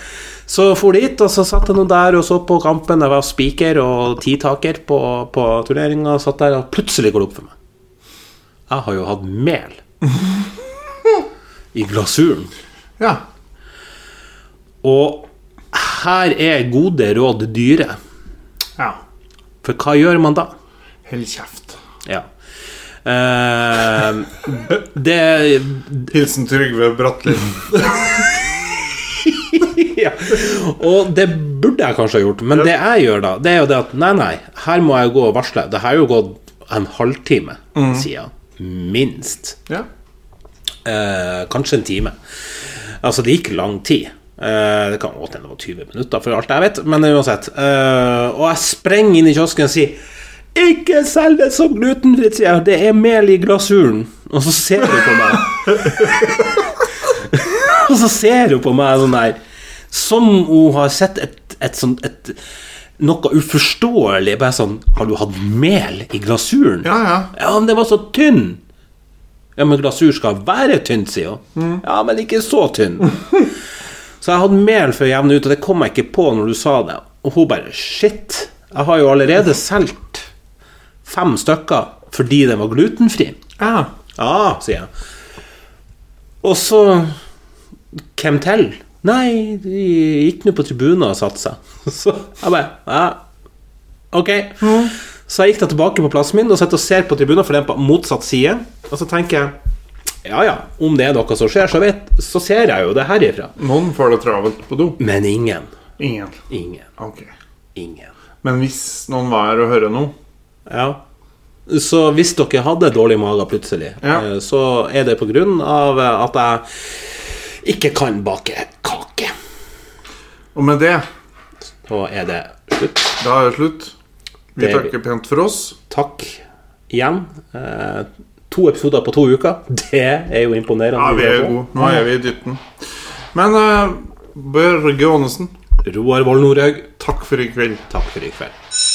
Speaker 2: så for dit, og så satt jeg nå der og så på kampen. Jeg var spiker og titaker på, på turneringa. Satt der, og plutselig går det opp for meg. Jeg har jo hatt mel i glasuren.
Speaker 1: ja.
Speaker 2: Og her er gode råd dyre.
Speaker 1: ja.
Speaker 2: For hva gjør man da?
Speaker 1: Hold kjeft.
Speaker 2: Ja. Eh, det
Speaker 1: Hilsen Trygve Bratli.
Speaker 2: ja. Og det burde jeg kanskje ha gjort, men det jeg gjør da, det er jo det at nei, nei, her må jeg gå og varsle. Det har jo gått en halvtime siden. Minst.
Speaker 1: Ja.
Speaker 2: Eh, kanskje en time. Altså, det gikk lang tid. Eh, det kan godt hende det var 20 minutter, for alt jeg vet, men uansett. Eh, og jeg sprenger inn i kiosken og sier ikke selg det som glutenfritt, sier jeg. Det er mel i glasuren. Og så ser hun på meg. og så ser hun på meg sånn der Som hun har sett et, et sånt et, Noe uforståelig. Bare sånn Har du hatt mel i glasuren?
Speaker 1: Ja, ja.
Speaker 2: Ja, men det var så tynn! Ja, men glasur skal være tynn, sier hun. Ja, men ikke så tynn. så jeg hadde mel for å jevne ut, og det kom jeg ikke på når du sa det. Og hun bare Shit, jeg har jo allerede solgt fem stykker fordi den var glutenfri.
Speaker 1: ja.
Speaker 2: Ja, Ah, sier jeg. Og så Hvem til? Nei, de gikk nå på tribunen og satte seg. Så jeg bare ja, Ok. Så jeg gikk da tilbake på plassen min og sitter og ser på tribunen, for den er på motsatt side. Og så tenker jeg ja ja, om det er noe som skjer, så, vet, så ser jeg jo det herifra.
Speaker 1: Noen får det travelt på do.
Speaker 2: Men ingen.
Speaker 1: Ingen.
Speaker 2: Ingen.
Speaker 1: Ok.
Speaker 2: Ingen.
Speaker 1: Men hvis noen var her og hører nå
Speaker 2: Ja. Så hvis dere hadde dårlig mage plutselig,
Speaker 1: Ja.
Speaker 2: eh, så er det på grunn av eh, at jeg ikke kan bake kake.
Speaker 1: Og med det,
Speaker 2: Så er det slutt.
Speaker 1: da er det slutt. Vi
Speaker 2: Det er vi.
Speaker 1: takker pent for oss.
Speaker 2: Takk igjen. Eh, to episoder på to uker. Det er jo imponerende.
Speaker 1: Ja, vi er gode. Nå er vi i dytten. Men eh, Børge Aanesen,
Speaker 2: Roar Vold Nordhaug,
Speaker 1: takk for i kveld.
Speaker 2: takk for i kveld.